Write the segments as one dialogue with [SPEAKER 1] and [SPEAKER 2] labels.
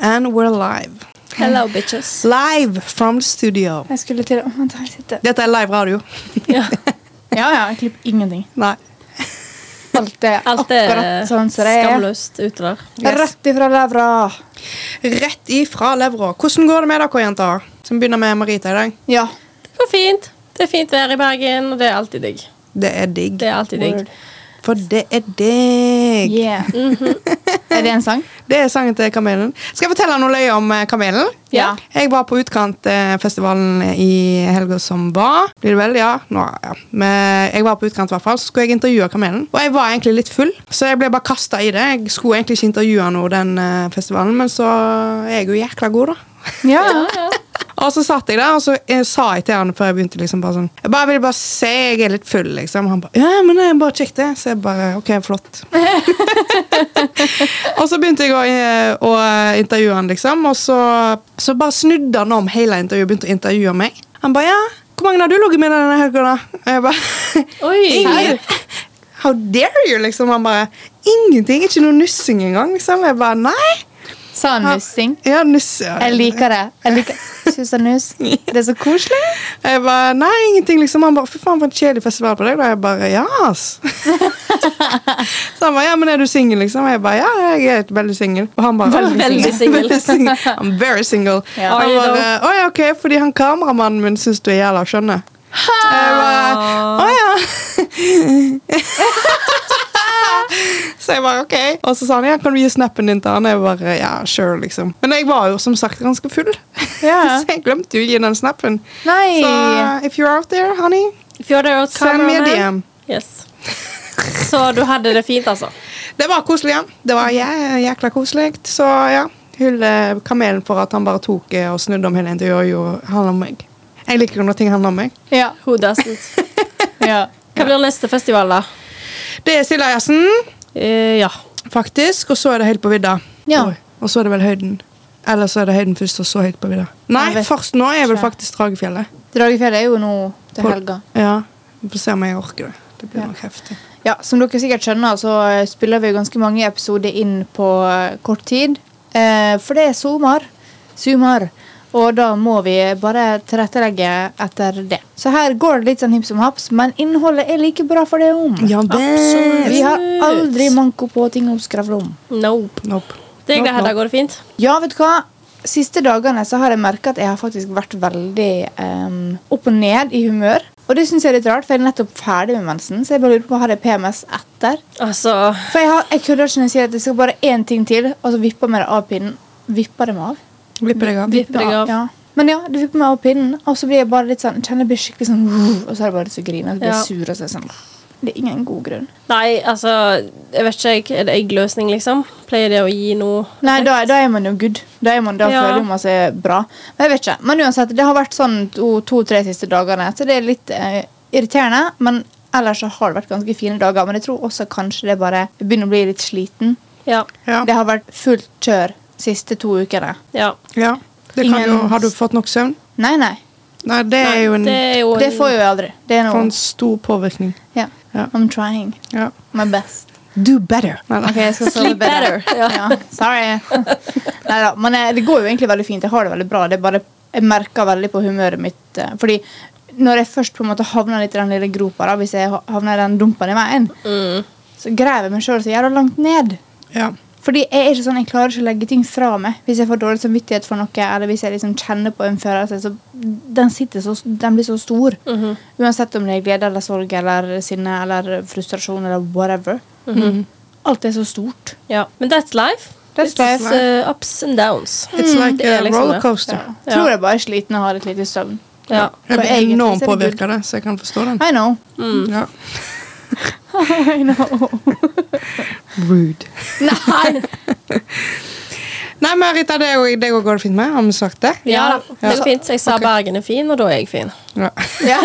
[SPEAKER 1] and we're live.
[SPEAKER 2] Hello, bitches.
[SPEAKER 1] Live from studio.
[SPEAKER 3] Jeg skulle til å Vent, her sitter
[SPEAKER 1] Dette er live radio.
[SPEAKER 2] Ja.
[SPEAKER 3] Ja, ja, jeg klipper ingenting.
[SPEAKER 1] Nei.
[SPEAKER 3] Alt er
[SPEAKER 2] Alt er
[SPEAKER 3] akkurat sånn som det er.
[SPEAKER 2] skamløst ute der.
[SPEAKER 1] Yes.
[SPEAKER 3] Rett ifra levra.
[SPEAKER 1] Rett ifra levra. Hvordan går det med dere, jenter? Som begynner med Marita i dag.
[SPEAKER 3] Ja.
[SPEAKER 2] Det går fint. Det er fint vær i Bergen, og det er alltid digg.
[SPEAKER 1] Det er digg.
[SPEAKER 2] Det er alltid digg.
[SPEAKER 3] Word.
[SPEAKER 1] For det er digg.
[SPEAKER 3] Yeah.
[SPEAKER 2] Mhm.
[SPEAKER 3] er det en sang?
[SPEAKER 1] Det er sangen til Kamelen. Skal jeg fortelle noe løye om eh, Kamelen?
[SPEAKER 2] Ja.
[SPEAKER 1] Jeg var på Utkantfestivalen eh, i helga som var. Blir det vel? Ja. Nå, ja. Men jeg var på utkant, i hvert fall. Så skulle jeg intervjue Kamelen. Og jeg var egentlig litt full, så jeg ble bare kasta i det. Jeg skulle egentlig ikke intervjue noe den eh, festivalen, men så er jeg jo jækla god, da.
[SPEAKER 3] Ja.
[SPEAKER 1] Og så satt jeg der, og så eh, sa jeg til han før jeg begynte liksom bare sånn Jeg bare vil bare se, jeg er litt full, liksom. Han bare Ja, men jeg bare kjekt, det. Så jeg bare OK, flott. og så begynte jeg å, eh, å eh, intervjue han, liksom. Og så, så bare snudde han om hele intervjuet og begynte å intervjue meg. Han bare ja, hvor mange har du ligget med denne helga, da? Og jeg bare
[SPEAKER 2] Oi!
[SPEAKER 1] Ingen, how dare you, liksom. Han bare Ingenting. Ikke noe nussing engang, liksom. Jeg bare nei.
[SPEAKER 3] Sa han nussing?
[SPEAKER 1] Ja, nuss. ja.
[SPEAKER 3] Jeg liker det. Jeg liker Syns han nuss? Det er så koselig.
[SPEAKER 1] Jeg bare, nei, ingenting liksom Han bare, fy faen for en kjedelig festival på deg da Jeg bare, ja ass Så han bare, ja, men er du single liksom Jeg bare, ja, jeg er veldig single Og han bare,
[SPEAKER 2] Veldig single.
[SPEAKER 1] Veldig single I'm very single
[SPEAKER 3] Ja.
[SPEAKER 1] Han
[SPEAKER 2] Are you
[SPEAKER 1] bare, åja, ok, fordi han kameramannen min synes du er jævla skjønne Jeg bare, åja Så jeg bare, ok Og så sa han, ja, kan du gi snappen din til han Jeg bare, ja, sure liksom Men jeg var jo som sagt ganske full
[SPEAKER 3] Ja.
[SPEAKER 1] Så jeg glemte jo å gi den snappen
[SPEAKER 3] Nei.
[SPEAKER 1] så eh, if you're out there, honey,
[SPEAKER 2] If you're there,
[SPEAKER 1] send me a DM.
[SPEAKER 2] Yes. Så du hadde det fint, altså?
[SPEAKER 1] Det var koselig, ja. Det var jæ- jækla koselig. Så ja, hylle kamelen for at han bare tok eh, og snudde om hele intervjuet og gjorde- handler om meg. Jeg liker jo når ting handler om meg.
[SPEAKER 3] Ja.
[SPEAKER 2] Who doesn't?
[SPEAKER 3] ja.
[SPEAKER 2] Hva blir neste festival, da?
[SPEAKER 1] Det er Sildajazzen,
[SPEAKER 2] Eh, ja.
[SPEAKER 1] faktisk, og så er det Høyt på vidda.
[SPEAKER 3] Ja.
[SPEAKER 1] Oi, Og så er det vel Høyden. Eller så er det Høyden først, og så Høyt på vidda. Nei,
[SPEAKER 3] Jeg vet
[SPEAKER 1] først nå er vel
[SPEAKER 3] ikke.
[SPEAKER 1] faktisk Dragefjellet.
[SPEAKER 3] Dragefjell er jo nå til helga.
[SPEAKER 1] Ja, Vi får se om jeg orker det. Det blir
[SPEAKER 3] Ja.
[SPEAKER 1] nok heftig.
[SPEAKER 3] Ja, Som dere sikkert skjønner, så eh, spiller vi jo ganske mange episoder inn på eh, kort tid. Eh, for det er sommer. Sommer. Og da må vi bare tilrettelegge etter det. Så her går det litt sånn hipp som haps, men innholdet er like bra for det om.
[SPEAKER 1] Ja,
[SPEAKER 2] Absolutt.
[SPEAKER 3] Vi har aldri manko på ting å skravle om.
[SPEAKER 2] Nope.
[SPEAKER 1] Nope.
[SPEAKER 2] Deg
[SPEAKER 1] Nope,
[SPEAKER 2] da, Hedda,
[SPEAKER 1] nope.
[SPEAKER 2] går det fint?
[SPEAKER 3] Ja, vet du hva? Siste dagene så har jeg merka at jeg har faktisk vært veldig em, opp og ned i humør. Og det syns jeg er litt rart, for jeg er nettopp ferdig med mensen. Så jeg bare lurer på, har jeg PMS etter?
[SPEAKER 2] Altså
[SPEAKER 3] For jeg, har, jeg kødder ikke når jeg sier at det skal bare én ting til, og så vipper meg det av pinnen. Vipper det meg av?
[SPEAKER 1] Blipper deg av.
[SPEAKER 2] Vipper deg av.
[SPEAKER 3] Ja. Men ja, det vipper meg av pinnen, og så blir jeg bare litt sånn, kjenner jeg blir skikkelig sånn Og så er det bare litt så griner, og så blir jeg
[SPEAKER 2] Ja.
[SPEAKER 3] sur, og så er jeg sånn Det er ingen god grunn.
[SPEAKER 2] Nei, altså Jeg vet ikke. jeg. Er det eggløsning, liksom? Pleier det å gi noe?
[SPEAKER 3] Nei, da, da er man jo good. Da, er man, da
[SPEAKER 2] Ja.
[SPEAKER 3] føler man seg bra. Men jeg vet ikke. Men uansett, det har vært sånn to-tre siste dagene, så det er litt eh, irriterende. Men ellers så har det vært ganske fine dager. Men jeg tror også kanskje det bare jeg begynner å bli litt sliten.
[SPEAKER 2] Ja.
[SPEAKER 1] Ja.
[SPEAKER 3] Det har vært fullt kjør siste to ukene.
[SPEAKER 2] ja.
[SPEAKER 1] ja. Det kan
[SPEAKER 3] Ingen-
[SPEAKER 1] jo, har du fått nok søvn?
[SPEAKER 3] Nei, nei.
[SPEAKER 1] Nei, det er jo en,
[SPEAKER 2] Det er jo
[SPEAKER 3] Det får jo jeg aldri. Det er
[SPEAKER 1] får en
[SPEAKER 3] noe
[SPEAKER 1] stor påvirkning.
[SPEAKER 3] ja.
[SPEAKER 1] Ja.
[SPEAKER 3] I'm trying
[SPEAKER 1] Ja.
[SPEAKER 3] my best.
[SPEAKER 1] Do better. Nei, da.
[SPEAKER 3] Ok, jeg skal sove
[SPEAKER 2] Sleep better. Ja.
[SPEAKER 3] Ja, sorry. Neida, men eh, det går jo egentlig veldig fint. Jeg har det veldig bra. Det er bare, jeg merker veldig på humøret mitt. eh, Fordi når jeg først på en måte havner litt i den lille gropa, da, hvis jeg ha- havner i den dumpen i veien,
[SPEAKER 2] Mm,
[SPEAKER 3] så graver jeg meg sjøl så jævla langt ned.
[SPEAKER 1] Ja.
[SPEAKER 3] Fordi jeg er ikke sånn, jeg klarer ikke å legge ting fra meg. Hvis jeg får dårlig samvittighet for noe, eller hvis jeg liksom kjenner på en følelse, så den, sitter så, den blir så stor.
[SPEAKER 2] mhm.
[SPEAKER 3] Uansett om det er glede eller sorg eller sinne eller frustrasjon eller whatever. Alt er så stort.
[SPEAKER 2] ja. Men that's life.
[SPEAKER 3] That's
[SPEAKER 2] It's,
[SPEAKER 3] life.
[SPEAKER 2] eh, ups and downs.
[SPEAKER 1] It's like
[SPEAKER 2] det er
[SPEAKER 1] a
[SPEAKER 2] liksom det.
[SPEAKER 1] rollercoaster.
[SPEAKER 2] Ja.
[SPEAKER 3] Tror jeg bare er sliten og har litt lite søvn.
[SPEAKER 2] Ja.
[SPEAKER 1] Jeg
[SPEAKER 3] For
[SPEAKER 1] blir
[SPEAKER 3] egentlig
[SPEAKER 1] enormt
[SPEAKER 3] så er det
[SPEAKER 1] påvirket av det, så jeg kan forstå den.
[SPEAKER 3] I know.
[SPEAKER 2] Mm.
[SPEAKER 1] Ja.
[SPEAKER 3] I know.
[SPEAKER 1] Rude.
[SPEAKER 3] Nei!
[SPEAKER 1] Nei, men Rita, det, er jo- det går det fint med. Har vi sagt det?
[SPEAKER 2] Ja, det
[SPEAKER 1] Ja.
[SPEAKER 2] er fint. Jeg sa Bergen er fin, og da er jeg fin.
[SPEAKER 1] Ja.
[SPEAKER 3] Ja.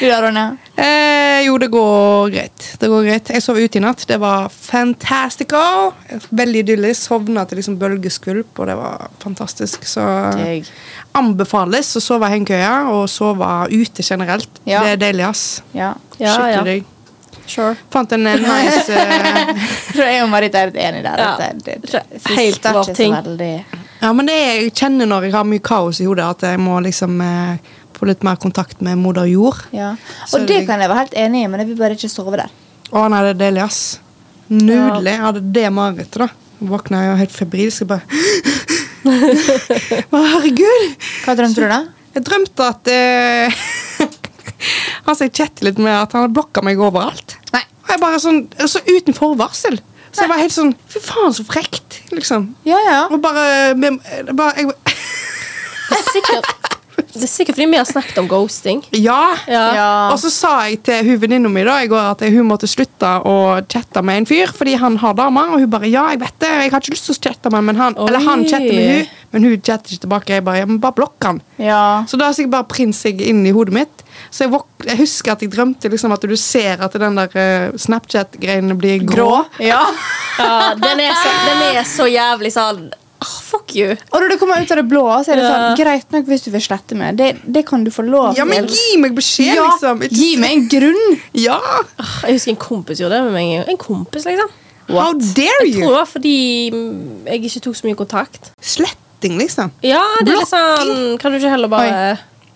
[SPEAKER 3] Du da, Ronja?
[SPEAKER 1] Eh, jo, det går greit. Det går greit. Jeg sov ute i natt. Det var fantastico. Veldig idyllisk. Sovna til liksom bølgeskvulp, og det var fantastisk. Så
[SPEAKER 3] Digg.
[SPEAKER 1] anbefales å sove i hengekøya og sove ute generelt.
[SPEAKER 3] Ja.
[SPEAKER 1] Det er deilig, ass.
[SPEAKER 3] Ja.
[SPEAKER 2] Ja,
[SPEAKER 1] Skikkelig
[SPEAKER 2] ja.
[SPEAKER 1] digg.
[SPEAKER 2] Sure.
[SPEAKER 1] Fant en eh, nice eh,
[SPEAKER 3] tror jeg og Marit er litt enige der.
[SPEAKER 2] Ja.
[SPEAKER 3] at Det, det,
[SPEAKER 2] Tre- Helt
[SPEAKER 3] frister
[SPEAKER 2] bra
[SPEAKER 3] ikke så
[SPEAKER 2] ting.
[SPEAKER 3] veldig.
[SPEAKER 1] Ja, men det er, jeg kjenner når jeg har mye kaos i hodet, at jeg må liksom eh, få litt mer kontakt med moder jord.
[SPEAKER 3] Ja.
[SPEAKER 1] Så
[SPEAKER 3] Og det
[SPEAKER 1] det-
[SPEAKER 3] kan jeg være helt enig i, men jeg vil bare ikke sove der.
[SPEAKER 1] Å nei, det er deilig, ass. Nydelig. Jeg hadde det marerittet, da. Våkna jeg jo helt febrilsk. Jeg bare Å, herregud!
[SPEAKER 3] Hva drømte du, da?
[SPEAKER 1] Jeg drømte at eh, Han som jeg chatter litt med, at han hadde blokka meg overalt.
[SPEAKER 3] Nei.
[SPEAKER 1] Og jeg bare sånn, så Uten forvarsel. Så jeg var helt sånn Fy faen, så frekt, liksom.
[SPEAKER 3] Ja, ja.
[SPEAKER 1] Og bare, det bare jeg,
[SPEAKER 2] Det er sikkert, det er sikkert fordi vi har snakket om ghosting.
[SPEAKER 1] Ja!
[SPEAKER 2] Ja.
[SPEAKER 3] Ja.
[SPEAKER 1] Og så sa jeg til hun venninna mi da i går at hun måtte slutte å chatte med en fyr fordi han har dame. Og hun bare ja, jeg vet det, jeg har ikke lyst til å chatte med han, men han,
[SPEAKER 2] Oi.
[SPEAKER 1] eller han chatter med hun, men hun chatter ikke tilbake. Jeg bare ja, men bare blokk han.
[SPEAKER 3] Ja.
[SPEAKER 1] Så da har sikkert bare prins jeg inn i hodet mitt. Så jeg, våk- jeg husker at jeg drømte liksom at du ser at den der eh, Snapchat-greiene blir grå.
[SPEAKER 3] Ja.
[SPEAKER 2] Ja, den, er så, den er så jævlig sånn ah, Fuck you.
[SPEAKER 3] Og når det kommer ut av det blå, så er det
[SPEAKER 2] Ja.
[SPEAKER 3] sånn Greit nok hvis du vil slette meg. Det, det kan du få lov
[SPEAKER 1] Ja, men
[SPEAKER 3] til.
[SPEAKER 1] gi meg beskjed,
[SPEAKER 3] Ja,
[SPEAKER 1] liksom. Ikke-
[SPEAKER 3] gi meg en grunn!
[SPEAKER 1] Ja!
[SPEAKER 2] Ah, Jeg husker en kompis gjorde det med meg. En kompis, liksom.
[SPEAKER 1] How dare
[SPEAKER 2] Jeg tror
[SPEAKER 1] you?
[SPEAKER 2] det var fordi mm, jeg ikke tok så mye kontakt.
[SPEAKER 1] Sletting, liksom.
[SPEAKER 2] Ja, det er litt sånn Kan du ikke heller bare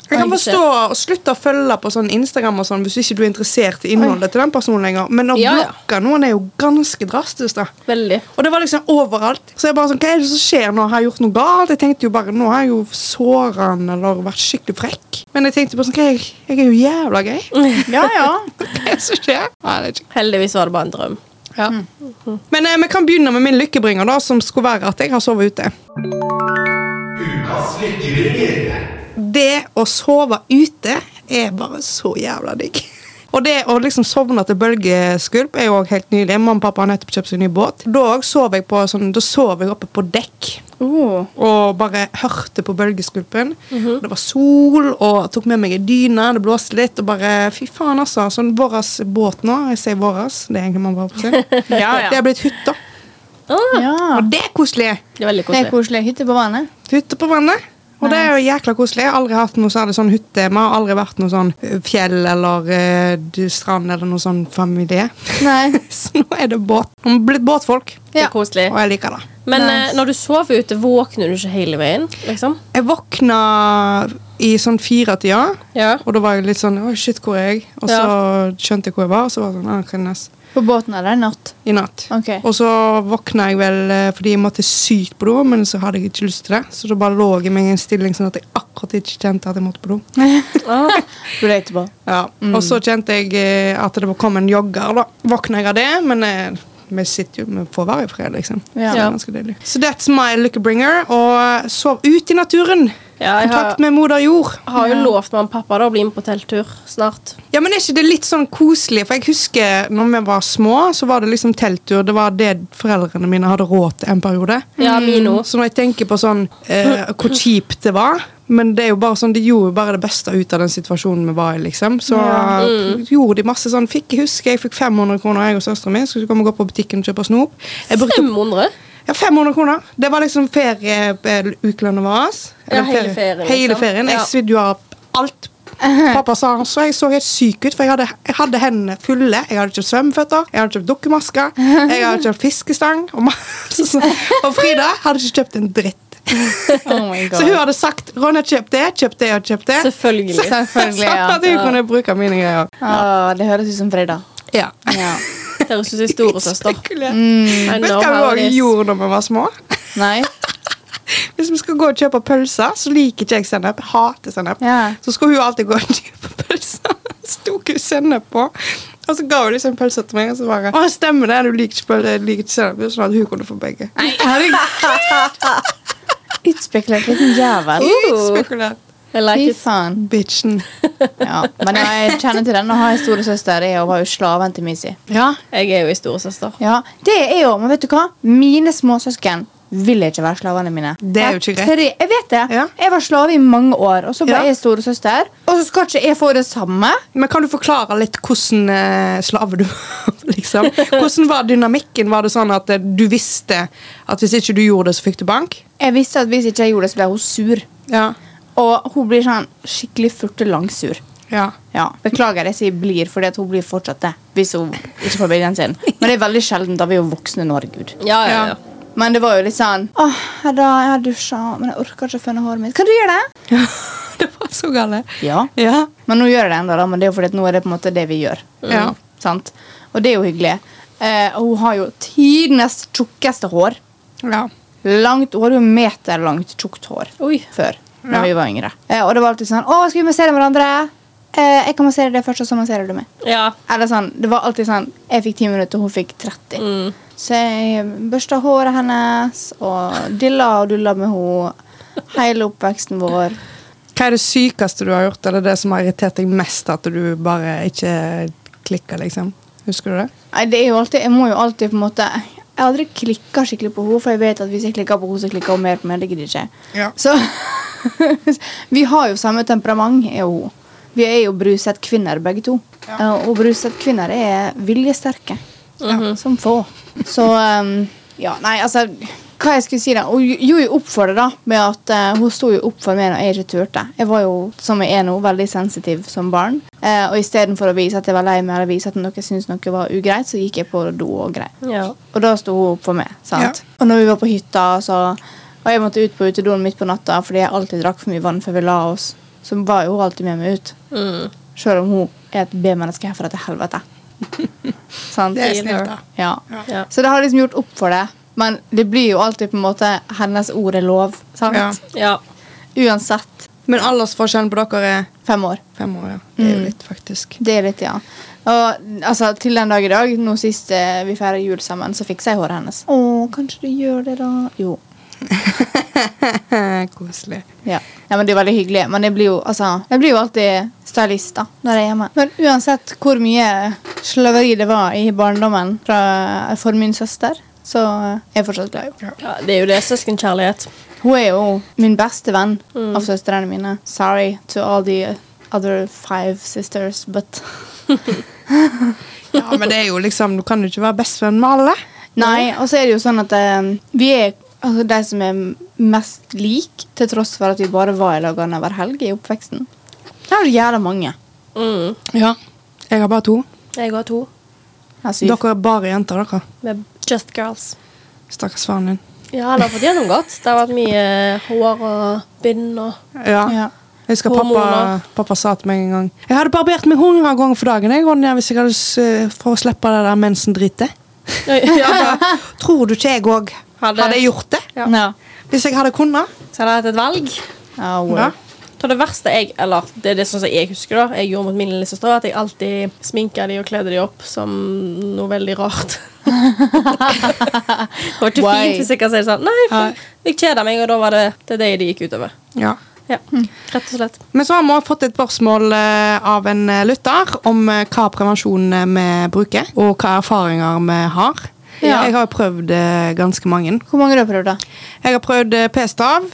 [SPEAKER 1] Jeg kan
[SPEAKER 2] Oi,
[SPEAKER 1] forstå å slutte å følge på sånn Instagram og sånn hvis ikke du er interessert i innholdet til den personen lenger. Men å
[SPEAKER 2] Ja, ja.
[SPEAKER 1] blokke noen er jo ganske drastisk. da.
[SPEAKER 2] Veldig.
[SPEAKER 1] Og det var liksom overalt. Så jeg bare sånn, Hva er det som skjer nå? Har jeg gjort noe galt? Jeg tenkte jo bare, Nå har jeg jo såret han eller vært skikkelig frekk. Men jeg tenkte bare sånn, hva, jeg, jeg er jo jævla gøy.
[SPEAKER 3] Ja, ja.
[SPEAKER 1] Hva er det som skjer? Nei, det er ikke.
[SPEAKER 2] Heldigvis var det bare en drøm.
[SPEAKER 1] Ja. Men eh, vi kan begynne med min lykkebringer, da, som skulle være at jeg har sovet ute.
[SPEAKER 4] Ukas lykkebringer.
[SPEAKER 1] det å sove ute er bare så jævla digg. Og det å liksom sovne til bølgeskvulp er jo også helt nydelig. Mamma og pappa har nettopp kjøpt seg ny båt. Da òg sov jeg på sånn, da sov jeg oppe på dekk
[SPEAKER 3] Oh.
[SPEAKER 1] og bare hørte på bølgeskvulpen.
[SPEAKER 3] Mhm.
[SPEAKER 1] Det var sol, og jeg tok med meg en dyne, det blåste litt, og bare Fy faen, altså. Sånn vår båt nå Jeg sier vår, det er egentlig man bare på seg.
[SPEAKER 3] Ja, ja.
[SPEAKER 1] Det er blitt hytta.
[SPEAKER 2] Ah,
[SPEAKER 3] Ja.
[SPEAKER 1] Og det er koselig!
[SPEAKER 2] det er veldig
[SPEAKER 3] Det er
[SPEAKER 2] koselig.
[SPEAKER 3] koselig. Hytte på vannet.
[SPEAKER 1] hytte på vannet. Og det er jo jækla koselig. Jeg har aldri hatt noe særlig sånn hytte. Vi har aldri vært noe sånn eh, fjell eller eh, d- strand eller noe sånn familie.
[SPEAKER 3] Nei.
[SPEAKER 1] Så nå er det båt. Nå er vi blitt båtfolk,
[SPEAKER 2] Det
[SPEAKER 3] Ja.
[SPEAKER 2] er koselig.
[SPEAKER 1] og jeg liker det.
[SPEAKER 2] Men
[SPEAKER 3] Nice.
[SPEAKER 2] eh, når du sover ute, våkner du ikke hele veien? liksom?
[SPEAKER 1] Jeg våkna i sånn firetida,
[SPEAKER 2] Ja.
[SPEAKER 1] og da var jeg litt sånn Å, shit, hvor er jeg? Og så skjønte jeg hvor jeg var, og så var jeg sånn «Ah, hva er det neste?»
[SPEAKER 3] På båten eller i natt.
[SPEAKER 1] I natt.
[SPEAKER 3] Ok.
[SPEAKER 1] Og så våkna jeg vel eh, fordi jeg måtte sykt på do, men så hadde jeg ikke lyst til det. Så da bare lå jeg meg i en stilling sånn at jeg akkurat ikke kjente at jeg måtte på do.
[SPEAKER 2] Ah,
[SPEAKER 3] Relatable.
[SPEAKER 1] Ja, Og så kjente jeg eh, at det kom en jogger. da. Våkna jeg av det, men eh, vi sitter jo, vi får være i fred, liksom.
[SPEAKER 3] Ja.
[SPEAKER 1] Så det er ganske deilig. Så that's my lykkebringer. Og sov ut i naturen.
[SPEAKER 2] Ja, jeg har-
[SPEAKER 1] Kontakt med moder jord.
[SPEAKER 2] har jo lovt mamma og pappa da, å bli med på telttur snart.
[SPEAKER 1] Ja, men er ikke det litt sånn koselig? For jeg husker når vi var små, så var det liksom telttur. Det var det foreldrene mine hadde råd til en periode. Mm.
[SPEAKER 2] Ja, Mino.
[SPEAKER 1] Så når jeg tenker på sånn eh, hvor kjipt det var Men det er jo bare sånn, de gjorde jo bare det beste ut av den situasjonen vi var i. liksom Så
[SPEAKER 3] Ja.
[SPEAKER 2] Mm.
[SPEAKER 1] gjorde de masse sånn fikk, Jeg husker jeg fikk 500 kroner, jeg og søsteren min. Skulle komme og gå på butikken og kjøpe snop. Jeg brukte
[SPEAKER 2] 500?
[SPEAKER 1] ja, 500 kroner. Det var liksom ferieukelønna vår.
[SPEAKER 2] Ja, hele ferien, liksom.
[SPEAKER 1] Hele ferien. Jeg
[SPEAKER 2] Ja.
[SPEAKER 1] svidde jo av alt. Pappa sa han så jeg så helt syk ut, for jeg hadde, jeg hadde hendene fulle. Jeg hadde kjøpt svømmeføtter, jeg hadde kjøpt dukkemasker, jeg hadde kjøpt fiskestang. Og, masse sånn. og Frida hadde ikke kjøpt en dritt.
[SPEAKER 3] Oh my
[SPEAKER 1] Så hun hadde sagt Ronja, kjøp det, kjøp det og kjøp det.
[SPEAKER 2] Selvfølgelig.
[SPEAKER 1] Så-
[SPEAKER 3] Selvfølgelig, ja.
[SPEAKER 1] Sånn at hun kunne bruke mine greier.
[SPEAKER 3] Ah, det høres ut som fredag.
[SPEAKER 1] Ja.
[SPEAKER 3] Ja. Mm,
[SPEAKER 2] Det høres ut som storesøster.
[SPEAKER 1] Spekkulert.
[SPEAKER 2] I
[SPEAKER 1] Vet du
[SPEAKER 2] know
[SPEAKER 1] hva
[SPEAKER 2] how
[SPEAKER 1] vi også
[SPEAKER 2] it is.
[SPEAKER 1] gjorde når vi var små?
[SPEAKER 3] Nei.
[SPEAKER 1] Hvis vi skal gå og kjøpe pølser, så liker ikke jeg sennep. Jeg Hater sennep.
[SPEAKER 3] Ja.
[SPEAKER 1] Så skulle hun alltid gå og kjøpe pølser. Så tok hun sennep på. Og så ga hun liksom pølser til meg, og så bare Å, stemmer det, du liker ikke pølser, jeg liker ikke sennep. Sånn at hun kunne få begge.
[SPEAKER 3] Utspekulert liten jævel.
[SPEAKER 1] Utspekulert.
[SPEAKER 2] I like
[SPEAKER 3] Fy
[SPEAKER 2] it.
[SPEAKER 3] faen.
[SPEAKER 1] Bitchen.
[SPEAKER 3] Ja. Men jeg kjenner til den og har en storesøster. Jeg var jo slaven til Missy.
[SPEAKER 1] Ja.
[SPEAKER 2] Jeg er jo ei storesøster.
[SPEAKER 3] Ja, det er jo, men vet du hva? Mine småsøsken ville ikke være slavene mine.
[SPEAKER 1] Det er jo ikke greit.
[SPEAKER 3] Tre- Jeg vet det.
[SPEAKER 1] Ja.
[SPEAKER 3] Jeg var slave i mange år, og så ble
[SPEAKER 1] Ja.
[SPEAKER 3] jeg storesøster. Og så skal ikke jeg få det samme?
[SPEAKER 1] Men kan du forklare litt hvordan eh, slave du var? liksom? Hvordan var dynamikken? Var det sånn at eh, du visste at hvis ikke du gjorde det, så fikk du bank?
[SPEAKER 3] Jeg visste at hvis ikke jeg gjorde det, så ble hun sur.
[SPEAKER 1] Ja.
[SPEAKER 3] Og hun blir sånn skikkelig furtelangsur.
[SPEAKER 1] Ja.
[SPEAKER 3] Ja, Beklager jeg sier blir, fordi at hun blir fortsatt det. Hvis hun ikke får babyen sin. Men det er veldig sjelden, da vi er jo voksne nå, herregud.
[SPEAKER 2] Ja, ja,
[SPEAKER 1] Ja.
[SPEAKER 2] ja.
[SPEAKER 3] Men det var jo litt sånn Åh, da, jeg har dusja, men jeg orker ikke å føne håret mitt. Kan du gjøre det?
[SPEAKER 1] det var så gale.
[SPEAKER 3] Ja.
[SPEAKER 1] Ja.
[SPEAKER 3] Men nå gjør jeg det enda, da, men det er jo fordi at nå er det på en måte det vi gjør.
[SPEAKER 1] Ja.
[SPEAKER 3] Sant? Og det er jo hyggelig. Eh, og hun har jo tidenes tjukkeste hår.
[SPEAKER 1] ja.
[SPEAKER 3] Langt, Hun hadde jo meterlangt tjukt hår
[SPEAKER 2] Oi.
[SPEAKER 3] før, da
[SPEAKER 1] Ja.
[SPEAKER 3] vi var yngre. Eh, og det var alltid sånn Å, skal vi massere hverandre? Eh, jeg kan massere deg først, og så masserer du meg.
[SPEAKER 2] Ja.
[SPEAKER 3] Eller sånn, Det var alltid sånn Jeg fikk 10 minutter, og hun fikk 30.
[SPEAKER 2] Mm.
[SPEAKER 3] Så jeg børsta håret hennes og dilla og dulla med henne hele oppveksten vår.
[SPEAKER 1] Hva er det sykeste du har gjort, eller det som har irritert deg mest, at du bare ikke klikker, liksom? Husker du det?
[SPEAKER 3] Nei, det er jo alltid, Jeg må jo alltid på en måte Jeg har aldri klikka skikkelig på henne, for jeg vet at hvis jeg klikker på henne, så klikker hun mer på meg. Det gidder ikke jeg.
[SPEAKER 1] Ja.
[SPEAKER 3] Så Vi har jo samme temperament, jeg og hun. Vi er jo bruset kvinner, begge to. Eh, Og bruset kvinner er viljesterke. Som få. Så um, Ja, nei, altså Hva jeg skulle si, da? Hun gjorde jo opp for det, da. Med at eh, hun sto jo opp for meg når jeg ikke turte. Jeg var jo, som jeg er nå, veldig sensitiv som barn. Eh, og istedenfor å vise at jeg var lei meg, eller vise at noe syntes noe var ugreit, så gikk jeg på do og grei.
[SPEAKER 2] ja.
[SPEAKER 3] Og da sto hun opp for meg. sant? Og når vi var på hytta, så, og jeg måtte ut på utedoen midt på natta fordi jeg alltid drakk for mye vann før vi la oss, så var jo hun alltid med meg ut.
[SPEAKER 2] Mm.
[SPEAKER 3] Selv om hun er et B-menneske herfra til helvete. sant?
[SPEAKER 1] Det er snilt, da.
[SPEAKER 3] Ja.
[SPEAKER 2] Ja.
[SPEAKER 3] Så det har liksom gjort opp for det. Men det blir jo alltid på en måte hennes ord er lov. sant?
[SPEAKER 1] Ja.
[SPEAKER 2] ja.
[SPEAKER 3] Uansett.
[SPEAKER 1] Men aldersforskjellen på dere er
[SPEAKER 3] Fem år.
[SPEAKER 1] fem år, ja. Det er jo litt, faktisk.
[SPEAKER 3] Det er litt, ja. Og altså, til den dag i dag, nå sist eh, vi feirer jul sammen, så fiksa jeg håret hennes. Å, kanskje du gjør det, da? Jo.
[SPEAKER 1] Koselig.
[SPEAKER 3] Ja. ja, men Det er veldig hyggelig. Men jeg blir jo, altså, jeg blir jo alltid stylist da, når jeg er hjemme. Men uansett hvor mye slaveri det var i barndommen fra, for min søster, så er jeg fortsatt glad i henne.
[SPEAKER 2] ja. Det er jo det. Søskenkjærlighet.
[SPEAKER 3] Hun er jo min beste venn av søstrene mine. Sorry to all the other five sisters, but
[SPEAKER 1] Ja, men det er jo liksom, du kan jo ikke være bestevenn med alle.
[SPEAKER 3] Nei, og så er det jo sånn at eh, vi er altså, de som er mest lik, til tross for at vi bare var i lag annenhver helg i oppveksten. Det er jo jævla mange.
[SPEAKER 2] Mm.
[SPEAKER 1] Ja. Jeg har bare to.
[SPEAKER 2] Jeg har to.
[SPEAKER 3] Altså,
[SPEAKER 1] Dere er bare jenter, dere.
[SPEAKER 2] Med Just Girls.
[SPEAKER 1] Stakkars faren din.
[SPEAKER 2] Ja, han har fått gjennom godt. Det har vært mye hår og bind og
[SPEAKER 1] Ja.
[SPEAKER 3] ja.
[SPEAKER 1] Jeg husker pappa,
[SPEAKER 2] Hormoner.
[SPEAKER 1] pappa sa til meg en gang Jeg hadde barbert meg hundre ganger for dagen jeg, Ronja, hvis jeg hadde, s- eh, for å slippe det der mensen-dritet.
[SPEAKER 2] ja.
[SPEAKER 1] Tror du ikke jeg òg
[SPEAKER 2] Hadde-
[SPEAKER 1] hadde gjort det?
[SPEAKER 2] Ja.
[SPEAKER 3] Ja.
[SPEAKER 1] Hvis jeg hadde kunnet?
[SPEAKER 2] Så hadde jeg hatt et valg.
[SPEAKER 3] Ja, wow.
[SPEAKER 1] Ja.
[SPEAKER 2] Jeg tror det verste jeg Eller det er det sånn som jeg husker da jeg gjorde mot min lillesøster, var at jeg alltid sminka de og kledde de opp som noe veldig rart. det var ikke
[SPEAKER 3] Why?
[SPEAKER 2] fint hvis jeg kan si det sånn. Nei, for jeg kjeda meg, og da var det det, er det de gikk utover.
[SPEAKER 1] Ja.
[SPEAKER 2] Ja,
[SPEAKER 3] Mm.
[SPEAKER 2] rett og slett.
[SPEAKER 1] Men så har vi også fått et spørsmål eh, av en eh, lytter om eh, hva prevensjon eh, vi bruker, og hva erfaringer vi har.
[SPEAKER 3] Ja.
[SPEAKER 1] Jeg har prøvd eh, ganske mange.
[SPEAKER 3] Hvor mange du har prøvd, da?
[SPEAKER 1] Jeg har prøvd eh, p-stav.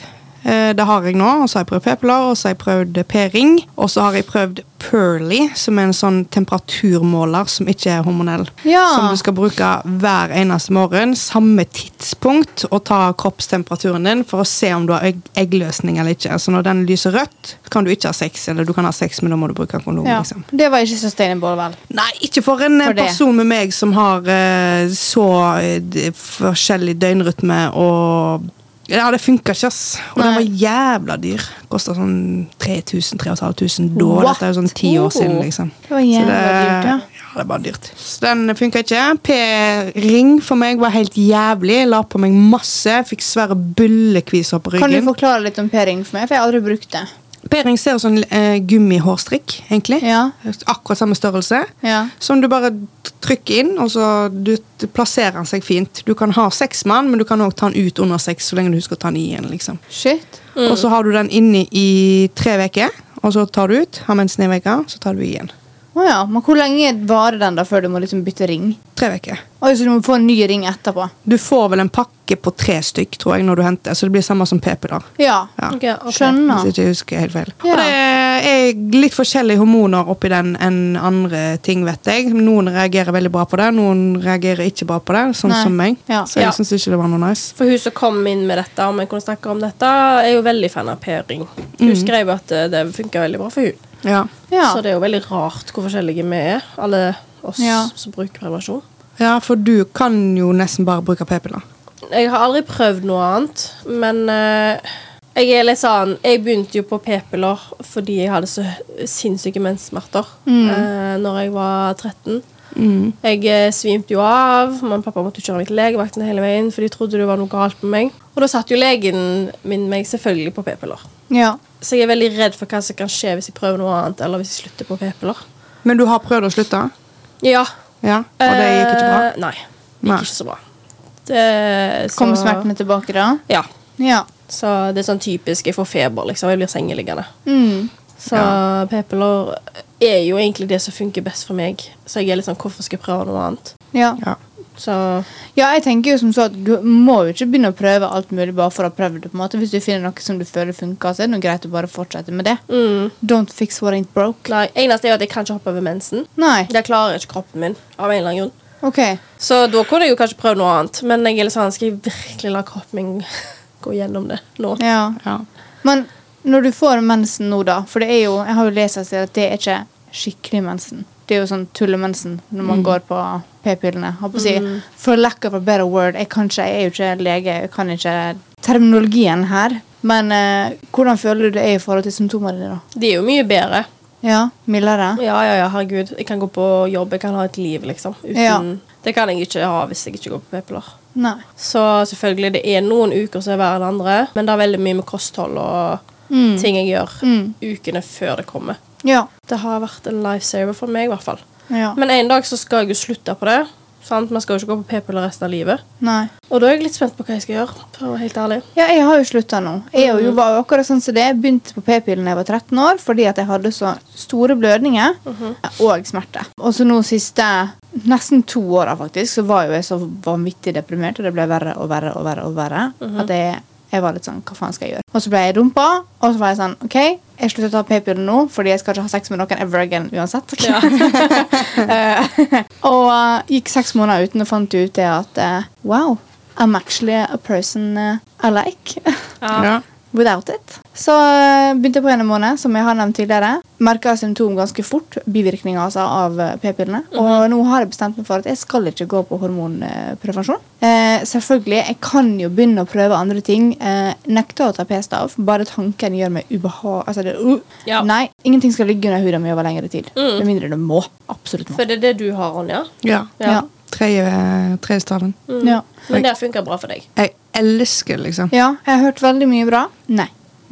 [SPEAKER 1] Eh, Det har jeg nå. Og så har jeg prøvd p-piller, og så har jeg prøvd eh, p-ring. Og så har jeg prøvd Pearly, som er en sånn temperaturmåler som ikke er hormonell.
[SPEAKER 3] Ja.
[SPEAKER 1] Som du skal bruke hver eneste morgen, samme tidspunkt, og ta kroppstemperaturen din for å se om du har egg eggløsning eller ikke. Så når den lyser rødt, kan du ikke ha sex, eller du kan ha sex, men da må du bruke kondom.
[SPEAKER 3] Ja.
[SPEAKER 1] liksom.
[SPEAKER 3] Det var ikke sustainable, vel?
[SPEAKER 1] Nei, ikke for en eh,
[SPEAKER 3] For det.
[SPEAKER 1] person med meg som har eh, så eh, d- forskjellig døgnrytme og Ja, det funka ikke, ass. Og den
[SPEAKER 3] Nei.
[SPEAKER 1] var jævla dyr. Kosta sånn 3000-3500 da.
[SPEAKER 3] What?
[SPEAKER 1] Dette er jo sånn ti år siden, liksom.
[SPEAKER 3] Det var
[SPEAKER 1] Så
[SPEAKER 3] jævla
[SPEAKER 1] det,
[SPEAKER 3] dyrt, ja.
[SPEAKER 1] ja, det er bare dyrt. Så den funka ikke. P-ring for meg var helt jævlig. La på meg masse. Fikk svære bullekviser på
[SPEAKER 3] Kan du
[SPEAKER 1] ryggen.
[SPEAKER 3] forklare litt om P-ring for meg? For jeg har aldri brukt det.
[SPEAKER 1] P-ring ser ut som en eh, gummihårstrikk, egentlig.
[SPEAKER 3] Ja.
[SPEAKER 1] Akkurat samme størrelse.
[SPEAKER 3] Ja.
[SPEAKER 1] Som du bare t- trykker inn, og så du t- plasserer den seg fint. Du kan ha seks mann, men du kan òg ta den ut under seks. så lenge du husker å ta den i igjen, liksom.
[SPEAKER 3] Shit.
[SPEAKER 1] Og så har du den inni i tre uker, og så tar du ut. Har mensen i en uke, så tar du i igjen.
[SPEAKER 3] Å ja. Men hvor lenge varer den da før du må liksom bytte ring?
[SPEAKER 1] Tre uker.
[SPEAKER 3] Oi, Så du må få en ny ring etterpå?
[SPEAKER 1] Du får vel en pakke på tre stykk, tror jeg, når du henter, så det blir samme som p-piller.
[SPEAKER 3] Ja.
[SPEAKER 1] Ja.
[SPEAKER 2] Ok, ok.
[SPEAKER 1] Hvis
[SPEAKER 3] Skjønner.
[SPEAKER 1] ikke jeg husker helt feil.
[SPEAKER 3] Ja.
[SPEAKER 1] Og det er litt forskjellige hormoner oppi den enn andre ting, vet jeg. Noen reagerer veldig bra på det, noen reagerer ikke bra på det, sånn
[SPEAKER 3] Nei.
[SPEAKER 1] som meg.
[SPEAKER 3] Ja.
[SPEAKER 1] Så jeg
[SPEAKER 2] Ja.
[SPEAKER 1] syns ikke det var noe nice.
[SPEAKER 2] For hun som kom inn med dette, og vi kunne snakke om dette, er jo veldig fan av P-ring. Hun skrev at eh, det funka veldig bra for hun.
[SPEAKER 1] Ja.
[SPEAKER 3] Mm. Ja.
[SPEAKER 2] Så det er jo veldig rart hvor forskjellige vi er, alle oss
[SPEAKER 3] Ja.
[SPEAKER 2] som bruker prevensjon.
[SPEAKER 1] ja, for du kan jo nesten bare bruke p-piller.
[SPEAKER 2] Jeg har aldri prøvd noe annet, men eh, jeg er litt sånn Jeg begynte jo på p-piller fordi jeg hadde så sinnssyke menssmerter
[SPEAKER 1] Mm.
[SPEAKER 2] eh, når jeg var 13. Jeg eh, svimte jo av. Mamma og pappa måtte jo kjøre meg til legevakten hele veien, for de trodde det var noe galt med meg. Og da satt jo legen min meg selvfølgelig på p-piller.
[SPEAKER 3] Ja.
[SPEAKER 2] Så jeg er veldig redd for hva som kan skje hvis jeg prøver noe annet, eller hvis jeg slutter på p-piller.
[SPEAKER 1] Men du har prøvd å slutte?
[SPEAKER 2] Ja.
[SPEAKER 1] Ja, og det gikk ikke bra?
[SPEAKER 2] Eh, Nei. Det gikk
[SPEAKER 1] Nei.
[SPEAKER 2] ikke så bra. Det, så-
[SPEAKER 3] Kommer smertene tilbake da?
[SPEAKER 2] Ja.
[SPEAKER 3] Ja.
[SPEAKER 2] Så det er sånn typisk jeg får feber, liksom. Jeg blir sengeliggende.
[SPEAKER 3] Mm.
[SPEAKER 2] Så p-piller er jo egentlig det som funker best for meg. Så jeg er litt sånn hvorfor skal jeg prøve noe annet?
[SPEAKER 3] Ja.
[SPEAKER 1] Ja.
[SPEAKER 2] Så
[SPEAKER 3] ja, jeg tenker jo som så at du må jo ikke begynne å prøve alt mulig bare for å prøve det. på en måte. Hvis du finner noe som du føler funker, så er det noe greit å bare fortsette med det.
[SPEAKER 2] mm.
[SPEAKER 3] Don't fix what ain't broke.
[SPEAKER 2] Nei, eneste er jo at jeg kan ikke hoppe over mensen.
[SPEAKER 3] Nei.
[SPEAKER 2] Det klarer ikke kroppen min. av en eller annen grunn.
[SPEAKER 3] OK.
[SPEAKER 2] Så da kunne jeg jo kanskje prøvd noe annet, men jeg er litt sånn, skal jeg virkelig la kroppen min gå gjennom det nå?
[SPEAKER 3] Ja.
[SPEAKER 1] Ja.
[SPEAKER 3] Men når du får mensen nå, da For det er jo, jeg har jo lest et sted at det er ikke skikkelig mensen. Det er jo sånn tullemensen når
[SPEAKER 2] Mm.
[SPEAKER 3] man går på p-pillene. Holdt på å si. For lack of a better word. Jeg, kan ikke, jeg er jo ikke lege, jeg kan ikke terminologien her. Men eh, hvordan føler du det er i forhold til symptomene dine? da?
[SPEAKER 2] Det er jo mye bedre.
[SPEAKER 3] Ja, Mildere?
[SPEAKER 2] Ja, ja, ja, herregud. Jeg kan gå på jobb, jeg kan ha et liv, liksom. Uten,
[SPEAKER 3] Ja.
[SPEAKER 2] Det kan jeg ikke ha hvis jeg ikke går på p-piller.
[SPEAKER 3] Nei.
[SPEAKER 2] Så selvfølgelig, det er noen uker som er verre enn andre, men det er veldig mye med kosthold og
[SPEAKER 3] Mm.
[SPEAKER 2] ting jeg gjør
[SPEAKER 3] Mm.
[SPEAKER 2] ukene før det kommer.
[SPEAKER 3] Ja.
[SPEAKER 2] Det har vært en lifesaver for meg, i hvert fall.
[SPEAKER 3] ja.
[SPEAKER 2] Men en dag så skal jeg jo slutte på det. Sant? Man skal jo ikke gå på p-piller resten av livet.
[SPEAKER 3] Nei.
[SPEAKER 2] Og da er jeg litt spent på hva jeg skal gjøre. for å være helt ærlig.
[SPEAKER 3] Ja, jeg har jo slutta nå. Jeg og jo var jo akkurat sånn som det. Jeg begynte på p-pillen da jeg var 13 år fordi at jeg hadde så store blødninger og smerte. Og så nå siste nesten to åra faktisk, så var jo jeg så vanvittig deprimert, og det ble verre og verre og verre. og verre. At jeg, jeg var litt sånn Hva faen skal jeg gjøre? Og så ble jeg rumpa, og så var jeg sånn OK, jeg slutter å ta p-pillen nå fordi jeg skal ikke ha sex med noen ever again uansett. Eh, og eh, gikk seks måneder uten og fant ut det at eh, wow, I'm actually a person eh, I like.
[SPEAKER 1] Ja.
[SPEAKER 3] Without it. Så eh, begynte jeg på en måned, som jeg har nevnt tidligere. Merka symptom ganske fort, bivirkninger altså, av eh, p-pillene. Og
[SPEAKER 2] Mhm.
[SPEAKER 3] nå har jeg bestemt meg for at jeg skal ikke gå på hormonprevensjon. Eh, selvfølgelig, jeg kan jo begynne å prøve andre ting. Eh, nekte å ta p-stav. Bare tanken gjør meg ubehag... Altså, det, uh.
[SPEAKER 2] Ja. Mm.
[SPEAKER 3] Nei, ingenting skal ligge under huden min over lengre tid. Med mindre det må. Absolutt må.
[SPEAKER 2] For det er det du har, Ronja.
[SPEAKER 1] ja.
[SPEAKER 2] Ja. Mm.
[SPEAKER 3] Ja.
[SPEAKER 1] Tredje tredje staven.
[SPEAKER 3] Ja.
[SPEAKER 2] Men det funker bra for deg.
[SPEAKER 1] Jeg elsker, liksom.
[SPEAKER 3] ja, jeg har hørt veldig mye bra. Nei.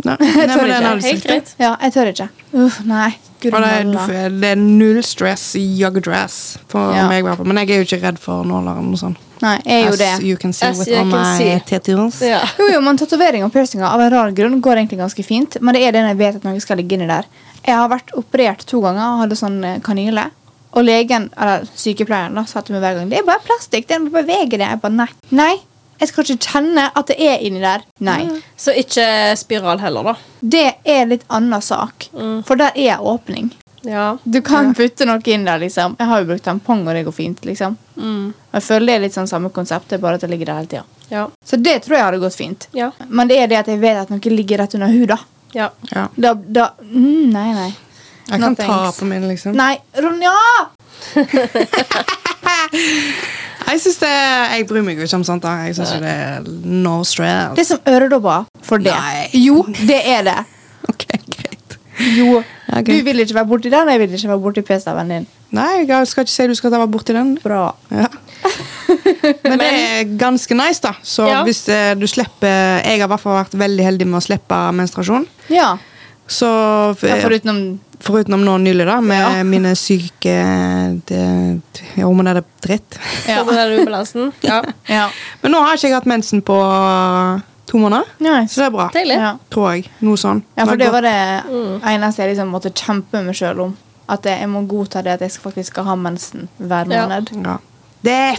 [SPEAKER 1] Nei, nei, men det er
[SPEAKER 2] ikke.
[SPEAKER 1] en
[SPEAKER 2] Helt
[SPEAKER 1] elsker.
[SPEAKER 2] greit.
[SPEAKER 3] Ja, jeg tør ikke. Uff, nei. Gud,
[SPEAKER 1] Og det, er- du,
[SPEAKER 3] malla.
[SPEAKER 1] får- det er null stress, jog dress, på
[SPEAKER 3] Ja.
[SPEAKER 1] meg i hvert fall. Men jeg er jo ikke redd for nåler eller noe sånt.
[SPEAKER 3] Nei, jeg er jo det.
[SPEAKER 1] As you can see
[SPEAKER 2] As
[SPEAKER 1] with
[SPEAKER 2] you
[SPEAKER 1] all
[SPEAKER 2] can see.
[SPEAKER 1] my tattoos.
[SPEAKER 2] Ja.
[SPEAKER 3] Jo, jo, men Tatovering og piercinger av en rar grunn går egentlig ganske fint. Men det er det når jeg vet at noe skal ligge inni der. Jeg har vært operert to ganger og hadde sånn eh, kanyle. Og legen, eller sykepleieren da, sa til meg hver gang det er bare plastikk. Den må bevege det. Jeg bare nei. Nei, jeg skal ikke kjenne at det er inni der. Nei.
[SPEAKER 2] Så ikke spiral heller, da.
[SPEAKER 3] Det er litt annen sak. For der er åpning.
[SPEAKER 2] Ja.
[SPEAKER 3] Mm. Du kan putte noe inn der, liksom. Jeg har jo brukt tampong, og det går fint, liksom.
[SPEAKER 1] Mm.
[SPEAKER 3] Og Jeg føler det er litt sånn samme konsept, det er bare at det ligger der hele tida.
[SPEAKER 2] Ja.
[SPEAKER 3] Så det tror jeg hadde gått fint.
[SPEAKER 2] Ja.
[SPEAKER 3] Men det er det at jeg vet at noe ligger rett under huden.
[SPEAKER 2] ja.
[SPEAKER 1] Ja.
[SPEAKER 3] Da, da mm, Nei, nei.
[SPEAKER 1] Jeg
[SPEAKER 3] No
[SPEAKER 1] kan ta
[SPEAKER 3] thanks.
[SPEAKER 1] på min, liksom.
[SPEAKER 3] Nei, Ronja!
[SPEAKER 1] Jeg synes det, jeg bryr meg jo ikke om sånt. da Jeg synes jo det er no stress.
[SPEAKER 3] Det er som øredobber for det.
[SPEAKER 1] Nei.
[SPEAKER 3] Jo, det er det.
[SPEAKER 1] Ok, greit
[SPEAKER 3] Jo.
[SPEAKER 1] Ok.
[SPEAKER 3] Du vil ikke være borti den, og jeg vil ikke være borti p-staven din.
[SPEAKER 1] Nei, jeg skal ikke si du skal ta meg borti den.
[SPEAKER 3] Bra.
[SPEAKER 1] Ja. Men det er ganske nice, da. Så
[SPEAKER 2] Ja.
[SPEAKER 1] hvis eh, du slipper Jeg har i hvert fall vært veldig heldig med å slippe menstruasjon.
[SPEAKER 3] Ja.
[SPEAKER 1] Så
[SPEAKER 3] ja
[SPEAKER 1] eh,
[SPEAKER 3] Foruten
[SPEAKER 1] Forutenom nå nylig, da, med
[SPEAKER 3] Ja.
[SPEAKER 1] mine syke det- det- hormonelle dritt.
[SPEAKER 2] Så
[SPEAKER 3] Ja.
[SPEAKER 2] med den ubalansen. Ja.
[SPEAKER 3] Ja.
[SPEAKER 1] Men nå har ikke jeg hatt mensen på to måneder, så
[SPEAKER 3] Nice.
[SPEAKER 1] det er bra.
[SPEAKER 2] Deilig.
[SPEAKER 3] Ja.
[SPEAKER 1] Tror jeg. Noe sånn.
[SPEAKER 3] Ja, for
[SPEAKER 1] det
[SPEAKER 3] det
[SPEAKER 1] har
[SPEAKER 3] var
[SPEAKER 1] gått-
[SPEAKER 3] det eneste jeg liksom måtte kjempe meg sjøl om. At jeg jeg må godta det at jeg skal faktisk skal ha mensen hver
[SPEAKER 2] Ja.
[SPEAKER 3] måned.
[SPEAKER 1] ja. det.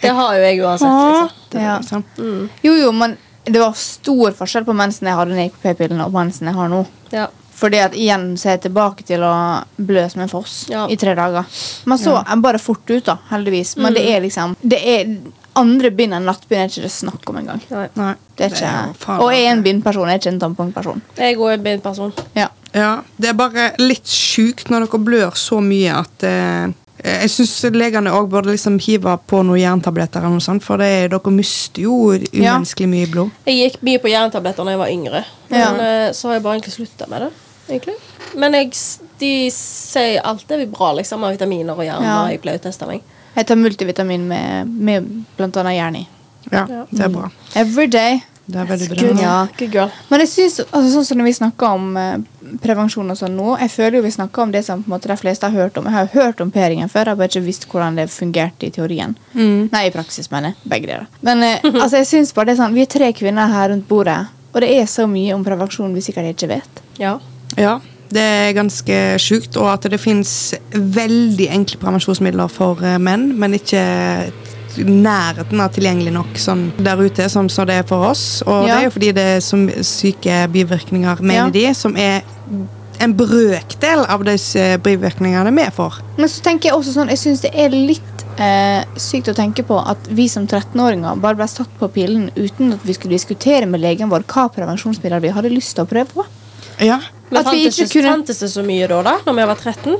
[SPEAKER 2] Det har jo jeg uansett, liksom.
[SPEAKER 1] det
[SPEAKER 3] Ja.
[SPEAKER 1] er liksom.
[SPEAKER 3] Jo, jo, men det var stor forskjell på mensen jeg hadde da jeg gikk på p-pillene, og mensen jeg har nå.
[SPEAKER 2] Ja.
[SPEAKER 3] Fordi at igjen så er jeg tilbake til å blø som en foss
[SPEAKER 2] Ja.
[SPEAKER 3] i tre dager. Men så er jeg bare fort ut, da, heldigvis. Men det er liksom det er, Andre bind enn nattbind er ikke det snakk om engang.
[SPEAKER 2] Nei.
[SPEAKER 1] Nei.
[SPEAKER 3] Det er ikke,
[SPEAKER 1] jo faen-
[SPEAKER 3] og jeg er en bindperson, jeg er ikke en tampongperson.
[SPEAKER 2] Jeg er også en blind person.
[SPEAKER 3] Ja.
[SPEAKER 1] Ja, Det er bare litt sjukt når dere blør så mye at eh, Jeg syns legene òg burde liksom hive på noen jerntabletter, eller noe sånt, for det, er- dere mister jo
[SPEAKER 3] Ja.
[SPEAKER 1] umenneskelig mye blod.
[SPEAKER 2] Jeg gikk mye på jerntabletter da jeg var yngre, men
[SPEAKER 3] Ja.
[SPEAKER 2] eh, så har jeg bare egentlig slutta med det. egentlig. Men jeg, s- de sier alt er bra, liksom, av vitaminer og jern.
[SPEAKER 3] Ja.
[SPEAKER 2] når Jeg ble uttesta meg.
[SPEAKER 3] Jeg tar multivitamin med, med bl.a. jern i.
[SPEAKER 1] Ja,
[SPEAKER 2] Ja.
[SPEAKER 1] Det er bra.
[SPEAKER 3] Every day.
[SPEAKER 1] Det er veldig
[SPEAKER 3] Good.
[SPEAKER 1] bra.
[SPEAKER 3] Ja.
[SPEAKER 2] Good girl.
[SPEAKER 3] Men jeg synes, altså, sånn som når vi snakker om eh, prevensjon og sånn nå, jeg føler jo vi snakker om det som på en måte, de fleste har hørt om. Jeg har jo hørt om P-ringen før, jeg har bare ikke visst hvordan det fungerte i teorien. Nei, i praksis, mener jeg. Begge deler. Men eh, altså, jeg synes bare det er sånn, vi er tre kvinner her rundt bordet, og det er så mye om prevensjon vi sikkert ikke vet.
[SPEAKER 2] Ja.
[SPEAKER 1] Ja, det er ganske sjukt. Og at det fins veldig enkle prevensjonsmidler for eh, menn, men ikke i nærheten av tilgjengelig nok sånn der ute som så det er for oss. Og det
[SPEAKER 3] Ja.
[SPEAKER 1] er jo fordi det er så my- syke bivirkninger, mener
[SPEAKER 3] Ja.
[SPEAKER 1] de, som er en brøkdel av de eh, bivirkningene vi får.
[SPEAKER 3] Men så tenker jeg også sånn, jeg synes det er litt eh, sykt å tenke på at vi som 13-åringer bare ble satt på pillen uten at vi skulle diskutere med legen vår hva prevensjonsmidler vi hadde lyst til å prøve på.
[SPEAKER 1] Ja.
[SPEAKER 2] Men
[SPEAKER 3] At vi
[SPEAKER 2] fantes,
[SPEAKER 3] ikke
[SPEAKER 2] det-
[SPEAKER 3] kunne-
[SPEAKER 2] fantes det så mye da, da når vi var 13?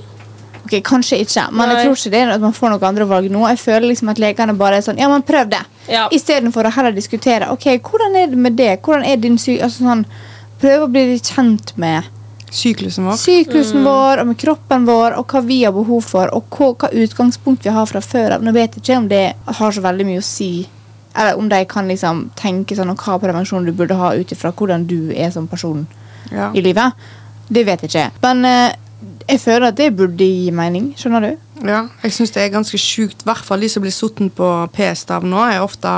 [SPEAKER 3] Ok, Kanskje ikke, men
[SPEAKER 2] Nei.
[SPEAKER 3] jeg tror ikke det er at man får noen andre valg nå. Jeg føler liksom at legene bare er sånn Ja, men prøv det!
[SPEAKER 2] Ja.
[SPEAKER 3] Istedenfor å heller diskutere Ok, hvordan er det med det. Hvordan er din sy... Altså sånn Prøve å bli litt kjent med
[SPEAKER 1] Syklusen vår.
[SPEAKER 2] Mm.
[SPEAKER 3] syklusen vår og med kroppen vår og hva vi har behov for, og hva, hva utgangspunkt vi har fra før av. Nå vet jeg ikke om det har så veldig mye å si. Eller om de kan liksom tenke sånn og hva prevensjon du burde ha ut ifra hvordan du er som person
[SPEAKER 1] Ja.
[SPEAKER 3] i livet. Det vet jeg ikke. Men eh, jeg føler at det burde gi mening. Skjønner du?
[SPEAKER 1] Ja, jeg syns det er ganske sjukt. I hvert fall de som blir sittet på p-stav nå, er ofte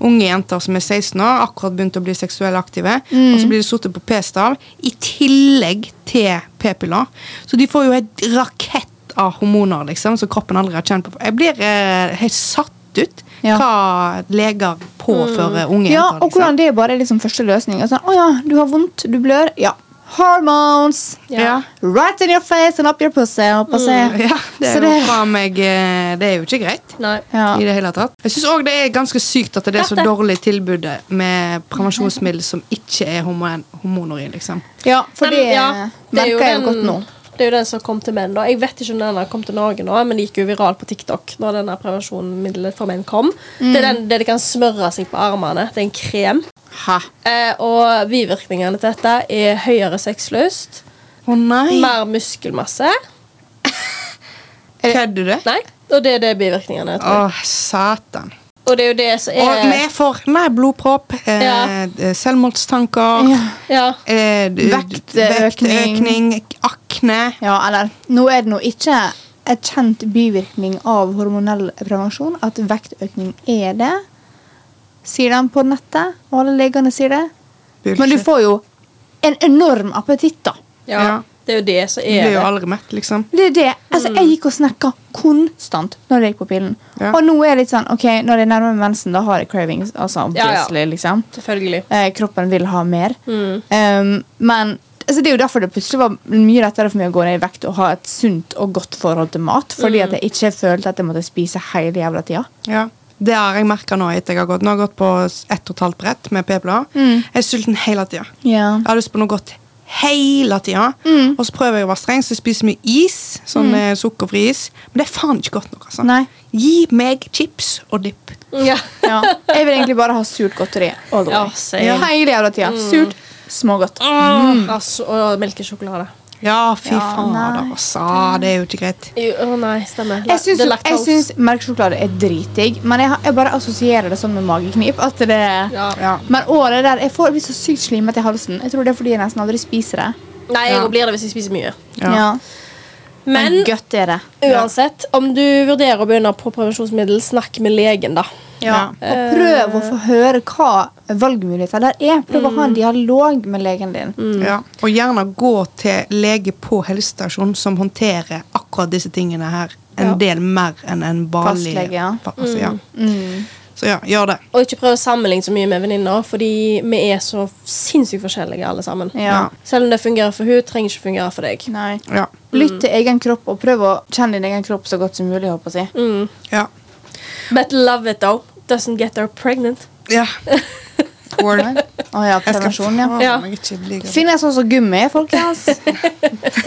[SPEAKER 1] unge jenter som er 16 år, akkurat begynt å bli seksuelt aktive.
[SPEAKER 3] Mm.
[SPEAKER 1] Og så blir de sittet på p-stav i tillegg til p-piller. Så de får jo et rakett av hormoner liksom, som kroppen aldri har kjent på. Jeg blir eh, helt satt ut
[SPEAKER 3] Ja. Mm.
[SPEAKER 1] hva leger påfører unge
[SPEAKER 3] Ja,
[SPEAKER 1] jenter.
[SPEAKER 3] og hvordan det bare er liksom første løsning. Altså, å ja, du har vondt, du blør. Ja. Hormones!
[SPEAKER 1] Ja. Mm, Ja.
[SPEAKER 3] Right in your face and up your pussy. Opp og se.
[SPEAKER 1] det
[SPEAKER 3] Så
[SPEAKER 1] er jo fra meg eh, Det er jo ikke greit.
[SPEAKER 2] Nei.
[SPEAKER 3] ja.
[SPEAKER 1] i det hele tatt. Jeg syns òg det er ganske sykt at det er så
[SPEAKER 2] Dette.
[SPEAKER 1] dårlig tilbud med prevensjonsmiddel som ikke er hormon hormoner i, liksom.
[SPEAKER 3] ja, for
[SPEAKER 2] Men,
[SPEAKER 3] det
[SPEAKER 2] ja, det er jo
[SPEAKER 3] merker
[SPEAKER 2] den-
[SPEAKER 3] jeg jo godt nå.
[SPEAKER 2] Det er jo den som kom til menn. da. Jeg vet ikke om den har kommet til Norge nå, men det gikk jo viral på TikTok når denne prevensjonsmiddelet for menn kom.
[SPEAKER 3] Mm.
[SPEAKER 2] Det er den det de kan smøre seg på armene. Det er en krem.
[SPEAKER 1] Hæ?
[SPEAKER 2] Eh, og bivirkningene til dette er høyere sexlyst,
[SPEAKER 1] Å nei!
[SPEAKER 2] mer muskelmasse.
[SPEAKER 1] Kødder du?
[SPEAKER 2] Nei, og det er det bivirkningene
[SPEAKER 1] Å,
[SPEAKER 2] er. tror jeg.
[SPEAKER 1] satan.
[SPEAKER 2] Og det er jo det som
[SPEAKER 1] Og vi
[SPEAKER 2] er
[SPEAKER 1] er for nei, blodpropp, eh,
[SPEAKER 2] Ja.
[SPEAKER 1] eh, selvmordstanker
[SPEAKER 3] Ja.
[SPEAKER 2] ja.
[SPEAKER 1] eh, d-
[SPEAKER 3] Vektøkning.
[SPEAKER 1] vektøkning, akne
[SPEAKER 3] Ja, eller Nå er det nå ikke et kjent bivirkning av hormonell prevensjon at vektøkning er det. Sier de på nettet, og alle legene sier det.
[SPEAKER 1] Bullshit.
[SPEAKER 3] Men du får jo en enorm appetitt, da.
[SPEAKER 2] ja.
[SPEAKER 1] Ja.
[SPEAKER 2] Det er jo det som
[SPEAKER 1] Du
[SPEAKER 2] er
[SPEAKER 1] blir jo
[SPEAKER 2] det.
[SPEAKER 1] aldri mett, liksom.
[SPEAKER 3] Det er det. Altså,
[SPEAKER 2] Mm.
[SPEAKER 3] Jeg gikk og snakka konstant når jeg gikk på pillen.
[SPEAKER 1] Ja.
[SPEAKER 3] Og nå er jeg litt sånn ok, når jeg nærmer meg mensen, da har jeg cravings. altså
[SPEAKER 2] Ja, Mm. ja.
[SPEAKER 3] obviously, liksom.
[SPEAKER 2] Selvfølgelig.
[SPEAKER 3] Eh, kroppen vil ha mer. Um, men altså, det er jo derfor det plutselig var mye lettere for meg å gå ned i vekt og ha et sunt og godt forhold til mat.
[SPEAKER 2] Mm.
[SPEAKER 3] Fordi at jeg ikke følte at jeg måtte spise hele jævla tida.
[SPEAKER 1] Ja. Det har jeg merka nå etter jeg har gått. Nå har jeg gått på ett og et halvt brett med p-plader.
[SPEAKER 3] Mm.
[SPEAKER 1] Jeg er sulten hele tida.
[SPEAKER 3] Ja.
[SPEAKER 1] Jeg har lyst på noe godt hele tida.
[SPEAKER 3] Mm.
[SPEAKER 1] Og så prøver jeg å være streng, så jeg spiser mye is. Sånn eh, sukkerfri is. Men det er faen ikke godt nok. altså.
[SPEAKER 3] Nei.
[SPEAKER 1] Gi meg chips og dipp.
[SPEAKER 2] Ja.
[SPEAKER 3] ja. Jeg vil egentlig bare ha surt godteri. all the
[SPEAKER 2] Ja,
[SPEAKER 3] way.
[SPEAKER 2] same. Mm.
[SPEAKER 3] Hele jævla tida. Surt, smågodt.
[SPEAKER 2] Altså, og melkesjokolade.
[SPEAKER 1] Ja, fy
[SPEAKER 3] Ja,
[SPEAKER 1] fader,
[SPEAKER 3] nei.
[SPEAKER 1] altså. Det er jo ikke greit.
[SPEAKER 2] Jo, Å nei, stemmer.
[SPEAKER 3] Jeg syns,
[SPEAKER 2] Det er
[SPEAKER 3] jeg
[SPEAKER 2] laktose.
[SPEAKER 3] syns melkesjokolade er dritdigg, men jeg, har- jeg bare assosierer det sånn med mageknip. At det,
[SPEAKER 2] Ja.
[SPEAKER 1] Ja.
[SPEAKER 3] Men året der, jeg får jeg blir så sykt slimete i halsen. Jeg tror det er fordi jeg nesten aldri spiser det.
[SPEAKER 2] Nei, jeg
[SPEAKER 1] Ja.
[SPEAKER 2] blir det hvis jeg spiser mye.
[SPEAKER 1] Ja.
[SPEAKER 3] Men,
[SPEAKER 2] Men
[SPEAKER 3] godt er det.
[SPEAKER 2] uansett, om du vurderer å begynne på prevensjonsmiddel, snakk med legen, da.
[SPEAKER 1] Ja.
[SPEAKER 3] Og prøv å få
[SPEAKER 2] Eh.
[SPEAKER 3] høre hva valgmuligheter der er. Prøv å
[SPEAKER 2] Mm.
[SPEAKER 3] ha en dialog med legen din.
[SPEAKER 1] Ja. Og gjerne gå til lege på helsestasjon som håndterer akkurat disse tingene her. En
[SPEAKER 2] Ja.
[SPEAKER 1] del mer enn en vanlig
[SPEAKER 3] Fastlege, ja. Mm.
[SPEAKER 1] Fa- altså, ja. Så ja, gjør det.
[SPEAKER 2] Og ikke prøv å sammenligne så mye med venninner, fordi vi er så sinnssykt forskjellige alle sammen.
[SPEAKER 3] Ja.
[SPEAKER 2] Selv om det fungerer for hun, trenger ikke fungere for deg.
[SPEAKER 3] Nei.
[SPEAKER 1] Ja.
[SPEAKER 2] Mm.
[SPEAKER 3] Lytt til egen kropp, og prøv å kjenne din egen kropp så godt som mulig. håper jeg.
[SPEAKER 2] Mm.
[SPEAKER 3] å si.
[SPEAKER 1] ja.
[SPEAKER 2] But love it, though. Doesn't get her pregnant.
[SPEAKER 1] Ja. Word.
[SPEAKER 3] Å ja,
[SPEAKER 1] Jeg skal
[SPEAKER 3] prevensjon, ja.
[SPEAKER 2] Ja.
[SPEAKER 1] faen meg ikke bli gravid.
[SPEAKER 3] Finnes også gummi, folkens.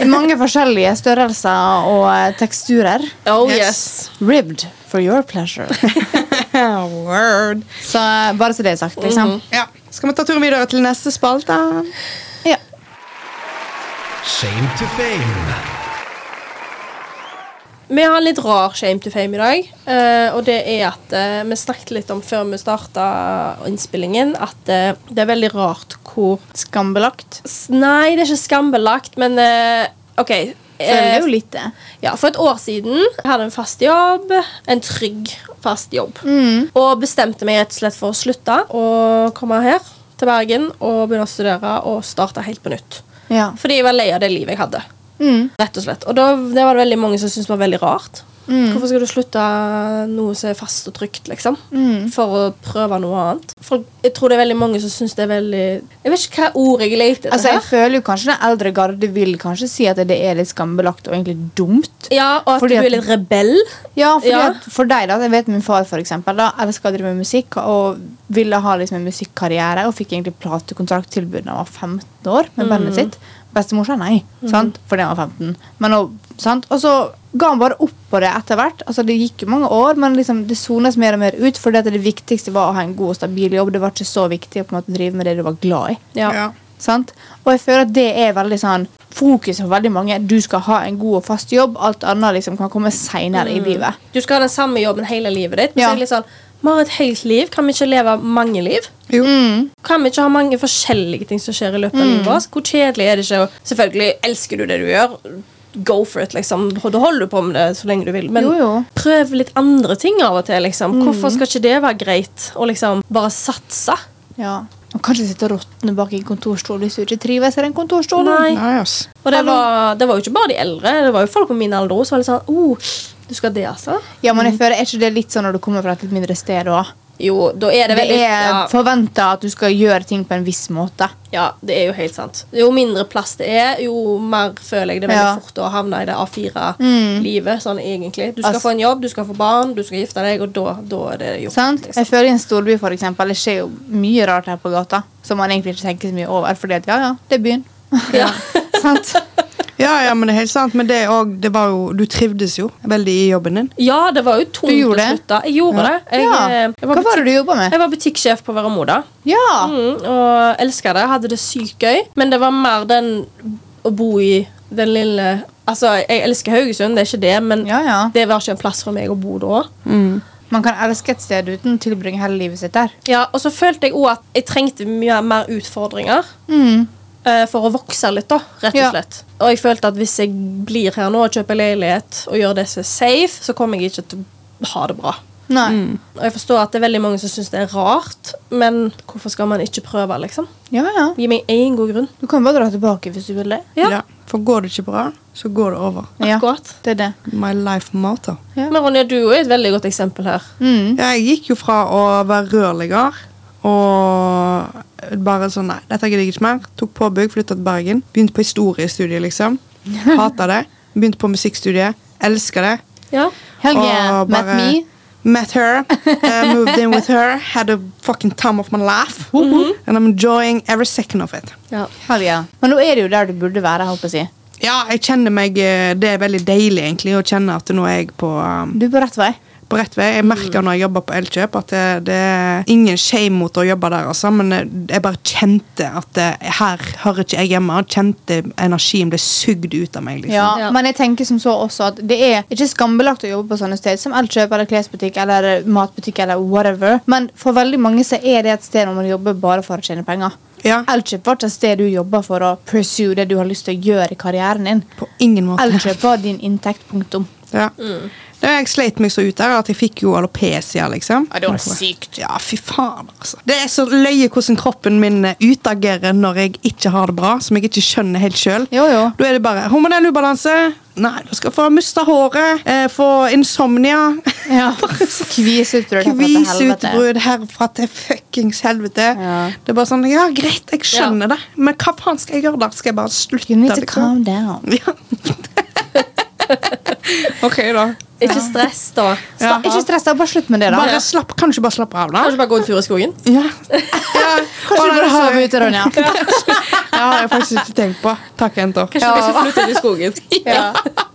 [SPEAKER 3] I mange forskjellige størrelser og eh, teksturer.
[SPEAKER 2] Oh yes.
[SPEAKER 1] Yes.
[SPEAKER 3] Ribbed for your pleasure.
[SPEAKER 1] Oh, Word.
[SPEAKER 3] Så eh, bare så det er sagt, liksom.
[SPEAKER 1] Ja. Skal vi ta turen videre til neste spalte?
[SPEAKER 3] Ja.
[SPEAKER 4] Shame to fame.
[SPEAKER 2] Vi har en litt rar shame to fame i dag. eh, og det er at eh, vi snakket litt om før vi starta innspillingen, at eh, det er veldig rart hvor
[SPEAKER 3] Skambelagt.
[SPEAKER 2] S- Nei, det er ikke skambelagt, men eh, OK.
[SPEAKER 3] Føler
[SPEAKER 2] eh,
[SPEAKER 3] jo litt det.
[SPEAKER 2] Ja, For et år siden jeg hadde en fast jobb. En trygg, fast jobb. Og bestemte meg rett og slett for å slutte og komme her til Bergen og begynne å studere og starte helt på nytt.
[SPEAKER 3] Ja.
[SPEAKER 2] Fordi jeg var lei av det livet jeg hadde.
[SPEAKER 3] Mm.
[SPEAKER 2] Rett Og slett Og da det var det veldig mange som syntes det var veldig rart.
[SPEAKER 3] Mm.
[SPEAKER 2] Hvorfor skal du slutte noe som er fast og trygt, liksom?
[SPEAKER 3] Mm.
[SPEAKER 2] For å prøve noe annet. Folk, jeg tror det er veldig mange som syns det er veldig Jeg vet ikke hva ord jeg leter etter.
[SPEAKER 3] Altså, jeg
[SPEAKER 2] her.
[SPEAKER 3] føler jo kanskje den eldre garde vil kanskje si at det er litt skambelagt og egentlig dumt.
[SPEAKER 2] Ja, og at
[SPEAKER 3] Fordi
[SPEAKER 2] du
[SPEAKER 3] at-
[SPEAKER 2] er litt rebell.
[SPEAKER 3] Ja, fordi
[SPEAKER 2] Ja.
[SPEAKER 3] At for deg da, jeg vet min far for eksempel da, elsker å drive med musikk og ville ha liksom, en musikkarriere og fikk egentlig platekontrakttilbud da han var 15 år med bandet sitt. Bestemor sa nei, sant? fordi han var 15. Men, nå- sant? Og så ga han bare opp på det etter hvert. Altså, det gikk jo mange år, men liksom, det sones mer og mer ut fordi at det viktigste var å ha en god og stabil jobb. Det var ikke så viktig å på en måte, drive med det du var glad i.
[SPEAKER 1] Ja.
[SPEAKER 3] Sant? Og jeg føler at det er veldig sånn fokuset for veldig mange. Du skal ha en god og fast jobb. Alt annet liksom kan komme seinere
[SPEAKER 2] Mm.
[SPEAKER 3] i livet.
[SPEAKER 2] Du skal ha den samme jobben hele livet ditt. Men
[SPEAKER 3] Ja.
[SPEAKER 2] så er det litt sånn, vi har et helt liv. Kan vi ikke leve mange liv?
[SPEAKER 1] Jo.
[SPEAKER 2] Kan vi ikke ha mange forskjellige ting som skjer i løpet av livet vårt? Hvor kjedelig er det ikke? å- Selvfølgelig elsker du det du gjør. Go for it, liksom. Da holder du på med det så lenge du vil. Men
[SPEAKER 3] Jo, jo.
[SPEAKER 2] prøv litt andre ting av og til, liksom. Hvorfor skal ikke det være greit? Å liksom bare satse?
[SPEAKER 3] Ja. Og kanskje sitte og råtne bak i en kontorstol hvis du ikke trives i den kontorstolen.
[SPEAKER 2] Nei.
[SPEAKER 1] Nei, ass.
[SPEAKER 2] Og det var, det var jo ikke bare de eldre. Det var jo folk på min alder også som var litt sånn oh, du skal det, altså?
[SPEAKER 3] Ja, men jeg føler er ikke det litt sånn når du kommer fra et litt mindre sted òg?
[SPEAKER 2] Jo, da er det
[SPEAKER 3] Det
[SPEAKER 2] veldig
[SPEAKER 3] er
[SPEAKER 2] ja.
[SPEAKER 3] forventa at du skal gjøre ting på en viss måte.
[SPEAKER 2] Ja, det er jo helt sant. Jo mindre plass det er, jo mer føler jeg det veldig
[SPEAKER 3] Ja. Mm.
[SPEAKER 2] fort å havne i det A4-livet. sånn egentlig. Du skal
[SPEAKER 3] Altså-
[SPEAKER 2] få en jobb, du skal få barn, du skal gifte deg, og da, da er det gjort.
[SPEAKER 3] Sant?
[SPEAKER 2] liksom.
[SPEAKER 3] Jeg føler I en storby for eksempel, det skjer jo mye rart her på gata som man egentlig ikke tenker så mye over. Fordi at ja, ja, det er byen.
[SPEAKER 2] Ja.
[SPEAKER 3] Sant?
[SPEAKER 1] Ja, ja, men det er helt sant. Men det, er også, det var jo, du trivdes jo veldig i jobben din.
[SPEAKER 2] ja, det var jo tungt
[SPEAKER 3] Du
[SPEAKER 2] å
[SPEAKER 3] gjorde det?
[SPEAKER 2] slutte. Jeg gjorde det. Jeg,
[SPEAKER 3] ja.
[SPEAKER 2] eh, jeg,
[SPEAKER 3] Hva
[SPEAKER 2] var
[SPEAKER 3] var
[SPEAKER 2] butikk,
[SPEAKER 3] det du jobba med?
[SPEAKER 2] jeg var butikksjef på Veramoda
[SPEAKER 3] Ja!
[SPEAKER 2] mm, og elska det. Hadde det sykt gøy, men det var mer den å bo i den lille Altså, jeg elsker Haugesund, det er ikke det, men
[SPEAKER 3] Ja, ja.
[SPEAKER 2] det var ikke en plass for meg å bo da.
[SPEAKER 3] Man kan elske et sted uten å tilbringe hele livet sitt der.
[SPEAKER 2] Ja, og så følte jeg òg at jeg trengte mye mer utfordringer. eh, For å vokse litt, da, rett og
[SPEAKER 3] Ja.
[SPEAKER 2] slett. Og jeg følte at hvis jeg blir her nå og kjøper leilighet og gjør det som er safe, så kommer jeg ikke til å ha det bra.
[SPEAKER 3] Nei.
[SPEAKER 2] Og jeg forstår at det er veldig mange som syns det er rart, men hvorfor skal man ikke prøve, liksom?
[SPEAKER 3] Ja, ja.
[SPEAKER 2] Gi meg én god grunn.
[SPEAKER 3] Du kan bare dra tilbake hvis du vil det.
[SPEAKER 2] Ja,
[SPEAKER 1] For går det ikke bra, så går det over.
[SPEAKER 3] Ja,
[SPEAKER 2] akkurat.
[SPEAKER 3] det er det.
[SPEAKER 1] My life motto.
[SPEAKER 3] Ja.
[SPEAKER 2] Men Ronja, du er et veldig godt eksempel her.
[SPEAKER 3] Mm.
[SPEAKER 1] Ja, jeg gikk jo fra å være rørlegger og bare sånn Nei, dette gidder jeg ikke mer. Tok påbygg, flytta til Bergen. Begynte på historiestudiet, liksom. Hata det. Begynte på musikkstudiet. Elsker det.
[SPEAKER 2] Ja.
[SPEAKER 3] Helge,
[SPEAKER 1] Og
[SPEAKER 3] met
[SPEAKER 1] bare-
[SPEAKER 3] me.
[SPEAKER 1] Met her. eh, moved in with her. Had a fucking time of my life. And I'm enjoying every second of it.
[SPEAKER 2] ja.
[SPEAKER 3] Helge. Men nå er det jo der du burde være. håper jeg å si.
[SPEAKER 1] Ja, jeg kjenner meg eh, Det er veldig deilig, egentlig, å kjenne at nå er jeg på um,
[SPEAKER 3] Du er på rett vei.
[SPEAKER 1] på rett vei. Jeg
[SPEAKER 3] Mm.
[SPEAKER 1] merker når jeg jobber på Elkjøp at det, det er ingen shame mot å jobbe der, altså, men jeg bare kjente at det, her hører ikke jeg hjemme. Jeg kjente energien ble sugd ut av meg. liksom.
[SPEAKER 3] Ja,
[SPEAKER 2] Ja.
[SPEAKER 3] Men jeg tenker som så også at det er ikke skambelagt å jobbe på sånne steder som Elkjøp eller klesbutikk eller matbutikk eller whatever. Men for veldig mange så er det et sted hvor man jobber bare for å tjene penger.
[SPEAKER 1] Ja.
[SPEAKER 3] Elkjøp var ikke et sted du jobba for å pursue det du har lyst til å gjøre i karrieren din.
[SPEAKER 1] På ingen måte.
[SPEAKER 3] Elkjøp var din inntekt, punktum.
[SPEAKER 1] Ja.
[SPEAKER 3] Mm.
[SPEAKER 1] Da jeg sleit meg så ut der at jeg fikk jo alopecia, liksom.
[SPEAKER 3] Ja, det var sykt.
[SPEAKER 1] Ja, fy faen, altså. Det er så løye hvordan kroppen min eh, utagerer når jeg ikke har det bra, som jeg ikke skjønner helt sjøl.
[SPEAKER 3] Jo, jo.
[SPEAKER 1] Da er det bare hormonell ubalanse. Nei, du skal få mista håret, eh, få insomnia.
[SPEAKER 3] Ja. Kvis ut brød.
[SPEAKER 1] Kvisutbrudd herfra til fuckings helvete.
[SPEAKER 3] Ja.
[SPEAKER 1] Det er bare sånn Ja, greit, jeg skjønner det, men liksom? hva faen skal jeg gjøre der? Skal jeg bare slutte?
[SPEAKER 3] You need to
[SPEAKER 1] liksom?
[SPEAKER 3] calm down.
[SPEAKER 1] Ja. OK, da.
[SPEAKER 2] Ikke stress, da.
[SPEAKER 3] Sla- Ikke stress, da. Bare slutt med det, da.
[SPEAKER 1] Bare slapp, kan du ikke bare slappe av, da?
[SPEAKER 2] Kanskje bare gå en tur i skogen?
[SPEAKER 1] Ja. ja.
[SPEAKER 3] Kanskje du
[SPEAKER 1] det
[SPEAKER 3] bare
[SPEAKER 1] har
[SPEAKER 3] sover
[SPEAKER 1] jeg-
[SPEAKER 3] ute, Ronja.
[SPEAKER 1] Det har jeg faktisk ikke tenkt på. Takk, jenter.
[SPEAKER 2] Kanskje du skal flytte ut i skogen?
[SPEAKER 3] Ja.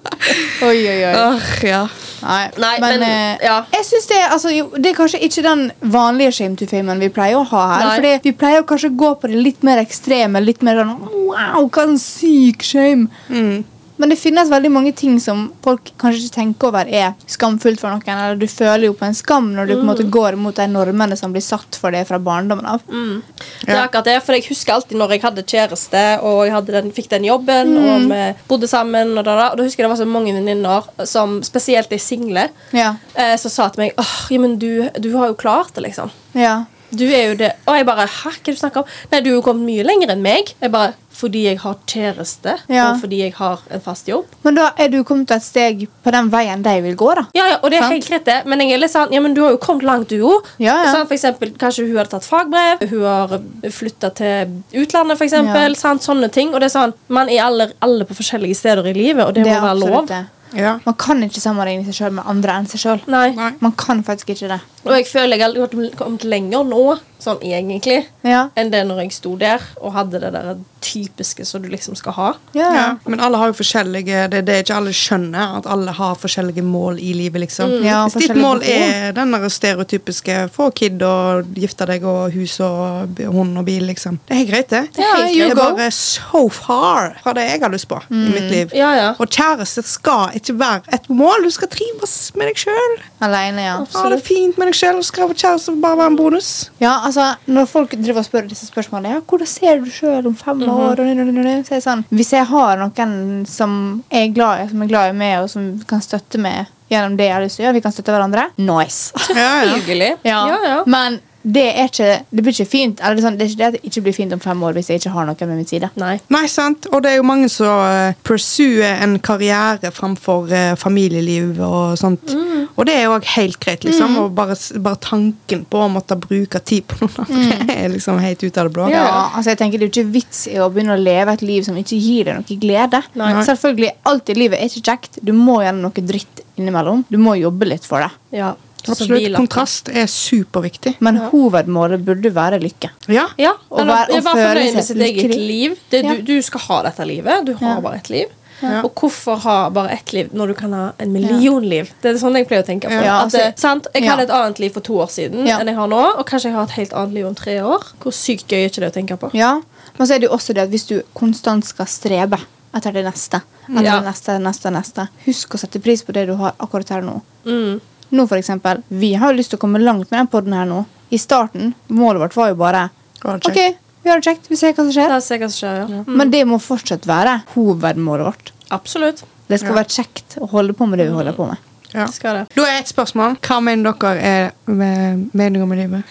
[SPEAKER 3] Oi, oi, oi.
[SPEAKER 1] Åh, ja.
[SPEAKER 3] Nei,
[SPEAKER 2] Nei,
[SPEAKER 3] men,
[SPEAKER 2] men,
[SPEAKER 3] eh,
[SPEAKER 2] ja.
[SPEAKER 3] jeg synes det, er- altså, jo, det er kanskje ikke den vanlige shame to fame-en vi pleier å ha her.
[SPEAKER 2] Nei.
[SPEAKER 3] Fordi Vi pleier å kanskje gå på det litt mer ekstreme. Litt mer sånn, Wow, hva en syk shame!
[SPEAKER 1] Mm.
[SPEAKER 3] Men det finnes veldig mange ting som folk kanskje ikke tenker over er skamfullt for noen. Eller du føler jo på en skam når du på en måte går mot de normene som blir satt for det fra barndommen av.
[SPEAKER 2] Det er
[SPEAKER 1] Ja.
[SPEAKER 2] akkurat det, for Jeg husker alltid når jeg hadde kjæreste og jeg hadde den, fikk den jobben.
[SPEAKER 3] Mhm.
[SPEAKER 2] Og vi bodde sammen. Og da, da, og da husker jeg det var så mange venninner, som, spesielt de single,
[SPEAKER 3] Ja,
[SPEAKER 2] eh, som sa til meg Åh, ja, men du, du har jo klart det, liksom.
[SPEAKER 3] ja.
[SPEAKER 2] Du er jo det. Og jeg bare Hæ, hva er det du snakker om? Nei, du er jo kommet mye lenger enn meg. Jeg bare, Fordi jeg har kjæreste,
[SPEAKER 3] Ja.
[SPEAKER 2] og fordi jeg har en fast jobb.
[SPEAKER 3] Men da er du kommet til et steg på den veien de vil gå, da.
[SPEAKER 2] Ja, ja, og det er
[SPEAKER 3] Sant.
[SPEAKER 2] helt greit, det. Men jeg er litt sånn, ja, men du har jo kommet langt, du òg.
[SPEAKER 3] Ja, ja.
[SPEAKER 2] Sånn, for eksempel, kanskje hun hadde tatt fagbrev, hun har flytta til utlandet, for eksempel.
[SPEAKER 3] Ja.
[SPEAKER 2] Sant? Sånne ting. Og det er sånn, man er alle, alle på forskjellige steder i livet, og det,
[SPEAKER 3] Det er
[SPEAKER 2] må være
[SPEAKER 3] absolutt
[SPEAKER 2] lov.
[SPEAKER 3] det.
[SPEAKER 1] ja.
[SPEAKER 3] Man kan ikke sammenligne seg sjøl med andre enn seg sjøl.
[SPEAKER 2] Nei.
[SPEAKER 1] Nei.
[SPEAKER 3] Man kan faktisk ikke det.
[SPEAKER 2] Og jeg føler jeg har aldri kommet lenger nå, sånn egentlig,
[SPEAKER 3] Ja.
[SPEAKER 2] enn det når jeg sto der og hadde det der typiske som du liksom skal ha.
[SPEAKER 3] Ja.
[SPEAKER 1] Ja, men alle har jo forskjellige Det, det er ikke alle skjønner at alle har forskjellige mål i livet, liksom.
[SPEAKER 3] Mm. Ja,
[SPEAKER 1] Hvis ditt
[SPEAKER 3] forskjellige
[SPEAKER 1] mål
[SPEAKER 3] behov.
[SPEAKER 1] er den der stereotypiske få kid og gifte deg og hus og b- hund og bil, liksom. Det er helt greit, det.
[SPEAKER 3] Ja,
[SPEAKER 2] helt
[SPEAKER 1] det
[SPEAKER 3] you
[SPEAKER 1] er
[SPEAKER 3] go. Mm.
[SPEAKER 1] bare so far fra det jeg har lyst på i mitt liv.
[SPEAKER 2] Ja, ja.
[SPEAKER 1] Og kjæreste skal ikke være et mål. Du skal trives med deg sjøl.
[SPEAKER 3] Alene, ja.
[SPEAKER 1] Ha det fint med deg sjøl. Skal være kjæreste og bare være en bonus.
[SPEAKER 3] ja altså, når folk driver og spør disse spørsmålene ja, 'Hvordan ser du sjøl om fem år?' og nå, nå, nå, nå, så er det sånn, Hvis jeg har noen som er glad i, som er glad i meg, og som kan støtte meg gjennom det jeg har lyst til å gjøre, vi kan støtte hverandre, nice.
[SPEAKER 1] Ja, ja.
[SPEAKER 2] Hyggelig.
[SPEAKER 3] Ja.
[SPEAKER 2] ja. ja.
[SPEAKER 3] Men det, er ikke, det blir ikke fint. Eller det er sånn, det er ikke det at det ikke blir fint om fem år hvis jeg ikke har noen ved min side.
[SPEAKER 2] Nei.
[SPEAKER 1] Nei, sant? Og det er jo mange som eh, pursuer en karriere framfor eh, familieliv og sånt.
[SPEAKER 2] Mm.
[SPEAKER 1] Og det er jo også helt greit, liksom. Og bare, s- bare tanken på å måtte bruke tid på noen andre er liksom helt ut av det blå.
[SPEAKER 2] Mm. Ja.
[SPEAKER 3] Ja, altså jeg tenker Det er jo ikke vits i å begynne å leve et liv som ikke gir deg noe glede.
[SPEAKER 2] Nei.
[SPEAKER 3] Selvfølgelig, Alt i livet er ikke kjekt. Du må gjøre noe dritt innimellom. Du må jobbe litt for det.
[SPEAKER 2] Ja. Så
[SPEAKER 1] Absolutt.
[SPEAKER 2] bilapp.
[SPEAKER 1] Kontrast er superviktig.
[SPEAKER 3] Men hovedmålet burde være lykke.
[SPEAKER 1] Ja.
[SPEAKER 2] Ja,
[SPEAKER 3] Og
[SPEAKER 2] og
[SPEAKER 3] vær-
[SPEAKER 2] være
[SPEAKER 3] og føle
[SPEAKER 2] fornøyd med
[SPEAKER 3] seg
[SPEAKER 2] sitt eget
[SPEAKER 3] lykkelig.
[SPEAKER 2] liv. Det,
[SPEAKER 3] Ja.
[SPEAKER 2] du, du skal ha dette livet. Du har
[SPEAKER 3] Ja.
[SPEAKER 2] bare ett liv.
[SPEAKER 1] Ja.
[SPEAKER 2] Og hvorfor ha bare ett liv når du kan ha en million liv? Det er sånn jeg pleier å tenke på.
[SPEAKER 3] Ja,
[SPEAKER 2] at, det-
[SPEAKER 3] altså-
[SPEAKER 2] sant? Jeg
[SPEAKER 3] ja.
[SPEAKER 2] hadde et annet liv for to år siden
[SPEAKER 3] Ja.
[SPEAKER 2] enn jeg har nå. Og kanskje jeg har et helt annet liv om tre år. Hvor sykt gøy er ikke det å tenke på?
[SPEAKER 3] Ja, Men så er det jo også det at hvis du konstant skal strebe etter det neste, etter
[SPEAKER 2] Ja.
[SPEAKER 3] det neste, neste, neste Husk å sette pris på det du har akkurat her nå.
[SPEAKER 2] Mm.
[SPEAKER 3] Nå for eksempel, Vi har jo lyst til å komme langt med den podden her nå. I starten, målet vårt var jo bare
[SPEAKER 1] Ha det
[SPEAKER 3] OK,
[SPEAKER 1] kjekt.
[SPEAKER 3] vi har det kjekt. Vi ser hva som skjer.
[SPEAKER 2] Da ser jeg hva som skjer, ja. Mm.
[SPEAKER 3] Men det må fortsatt være hovedmålet vårt.
[SPEAKER 2] Absolutt.
[SPEAKER 3] Det skal være kjekt å holde på med det vi holder på med.
[SPEAKER 1] Ja.
[SPEAKER 2] Skal det.
[SPEAKER 1] Da er et spørsmål. Hva mener dere er med meninga med livet?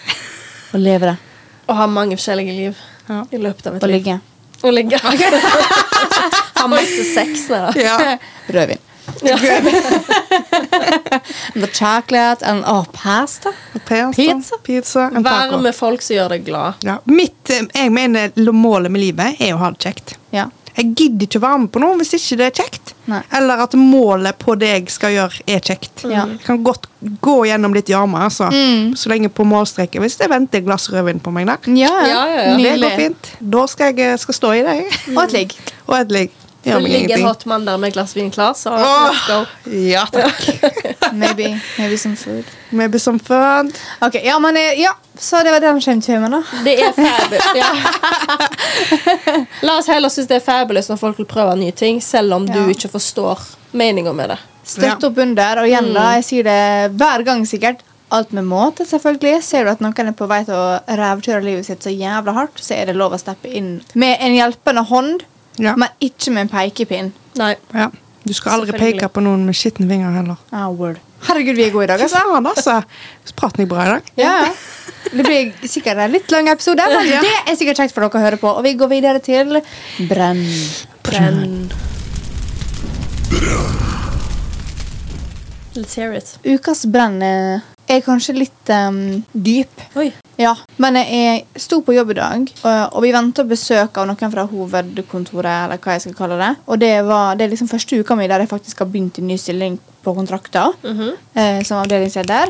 [SPEAKER 3] Å leve det.
[SPEAKER 2] Å ha mange forskjellige liv
[SPEAKER 1] Ja.
[SPEAKER 2] i løpet av et
[SPEAKER 3] Å
[SPEAKER 2] liv.
[SPEAKER 3] ligge.
[SPEAKER 2] Å ligge. ha masse sex. Nei, da.
[SPEAKER 1] Ja.
[SPEAKER 3] Rødvin. The chocolate and oh, pasta.
[SPEAKER 1] Pasta,
[SPEAKER 3] Pizza.
[SPEAKER 1] altså. pizza and taco.
[SPEAKER 2] Være med folk som gjør deg glad.
[SPEAKER 1] Ja. Mitt, eh, jeg mener målet med livet er å ha det kjekt.
[SPEAKER 3] Ja.
[SPEAKER 1] Jeg gidder ikke å være med på noe hvis ikke det er kjekt.
[SPEAKER 3] Nei. Mm.
[SPEAKER 1] Eller at målet på det jeg skal gjøre, er kjekt.
[SPEAKER 3] Ja. Mm.
[SPEAKER 1] Jeg kan godt gå gjennom litt gjørme, altså. Så lenge på målstreken. Hvis det venter et glass rødvin på meg der.
[SPEAKER 3] Ja,
[SPEAKER 2] Ja, ja, ja.
[SPEAKER 1] Det går
[SPEAKER 3] Mm. Nydelig.
[SPEAKER 1] fint. Da skal jeg eh, skal stå i det, jeg.
[SPEAKER 3] Og et ligg.
[SPEAKER 1] Og et ligg.
[SPEAKER 2] Det
[SPEAKER 1] Gjør meg
[SPEAKER 2] ligger en
[SPEAKER 1] ingenting.
[SPEAKER 2] hot mann der med et glass vin klar, så let's go.
[SPEAKER 1] Åh, ja takk.
[SPEAKER 2] Mm.
[SPEAKER 3] Maybe, maybe some food.
[SPEAKER 1] Maybe some fun.
[SPEAKER 3] Ok, ja, men eh, ja, Så det var den skjemtfilmen, da.
[SPEAKER 2] Det er fabulous. Ja. La oss heller synes det er fabulous når folk vil prøve nye ting, selv om
[SPEAKER 3] Ja.
[SPEAKER 2] du ikke forstår meninga med det.
[SPEAKER 3] Støtt
[SPEAKER 1] Ja.
[SPEAKER 3] opp under. Og igjen, da,
[SPEAKER 2] Mm.
[SPEAKER 3] jeg sier det hver gang sikkert. Alt med måte, selvfølgelig. Ser du at noen er på vei til å rævkjøre livet sitt så jævla hardt, så er det lov å steppe inn med en hjelpende hånd,
[SPEAKER 1] Ja.
[SPEAKER 3] men ikke med en pekepinn.
[SPEAKER 2] Nei.
[SPEAKER 1] ja. Du skal aldri
[SPEAKER 2] Selvfølgelig.
[SPEAKER 1] peke på noen med skitne vinger heller.
[SPEAKER 3] Ah, word. Herregud, vi er gode i dag,
[SPEAKER 1] Hva
[SPEAKER 3] altså.
[SPEAKER 1] sa han, altså? Praten gikk bra i dag.
[SPEAKER 3] Ja, ja. Det blir sikkert en litt lang episode, men
[SPEAKER 1] Ja.
[SPEAKER 3] det er sikkert kjekt for dere å høre på. Og vi går videre til Brenn.
[SPEAKER 2] Brenn. Let's hear it.
[SPEAKER 3] Ukas brenn eh, Jeg er kanskje litt ehm, dyp.
[SPEAKER 2] Oi.
[SPEAKER 3] Ja, men jeg sto på jobb i dag, og, og vi venta besøk av noen fra hovedkontoret, eller hva jeg skal kalle det. Og det, var, det er liksom første uka mi der jeg faktisk har begynt i ny stilling på kontrakta. eh, som avdelingsleder.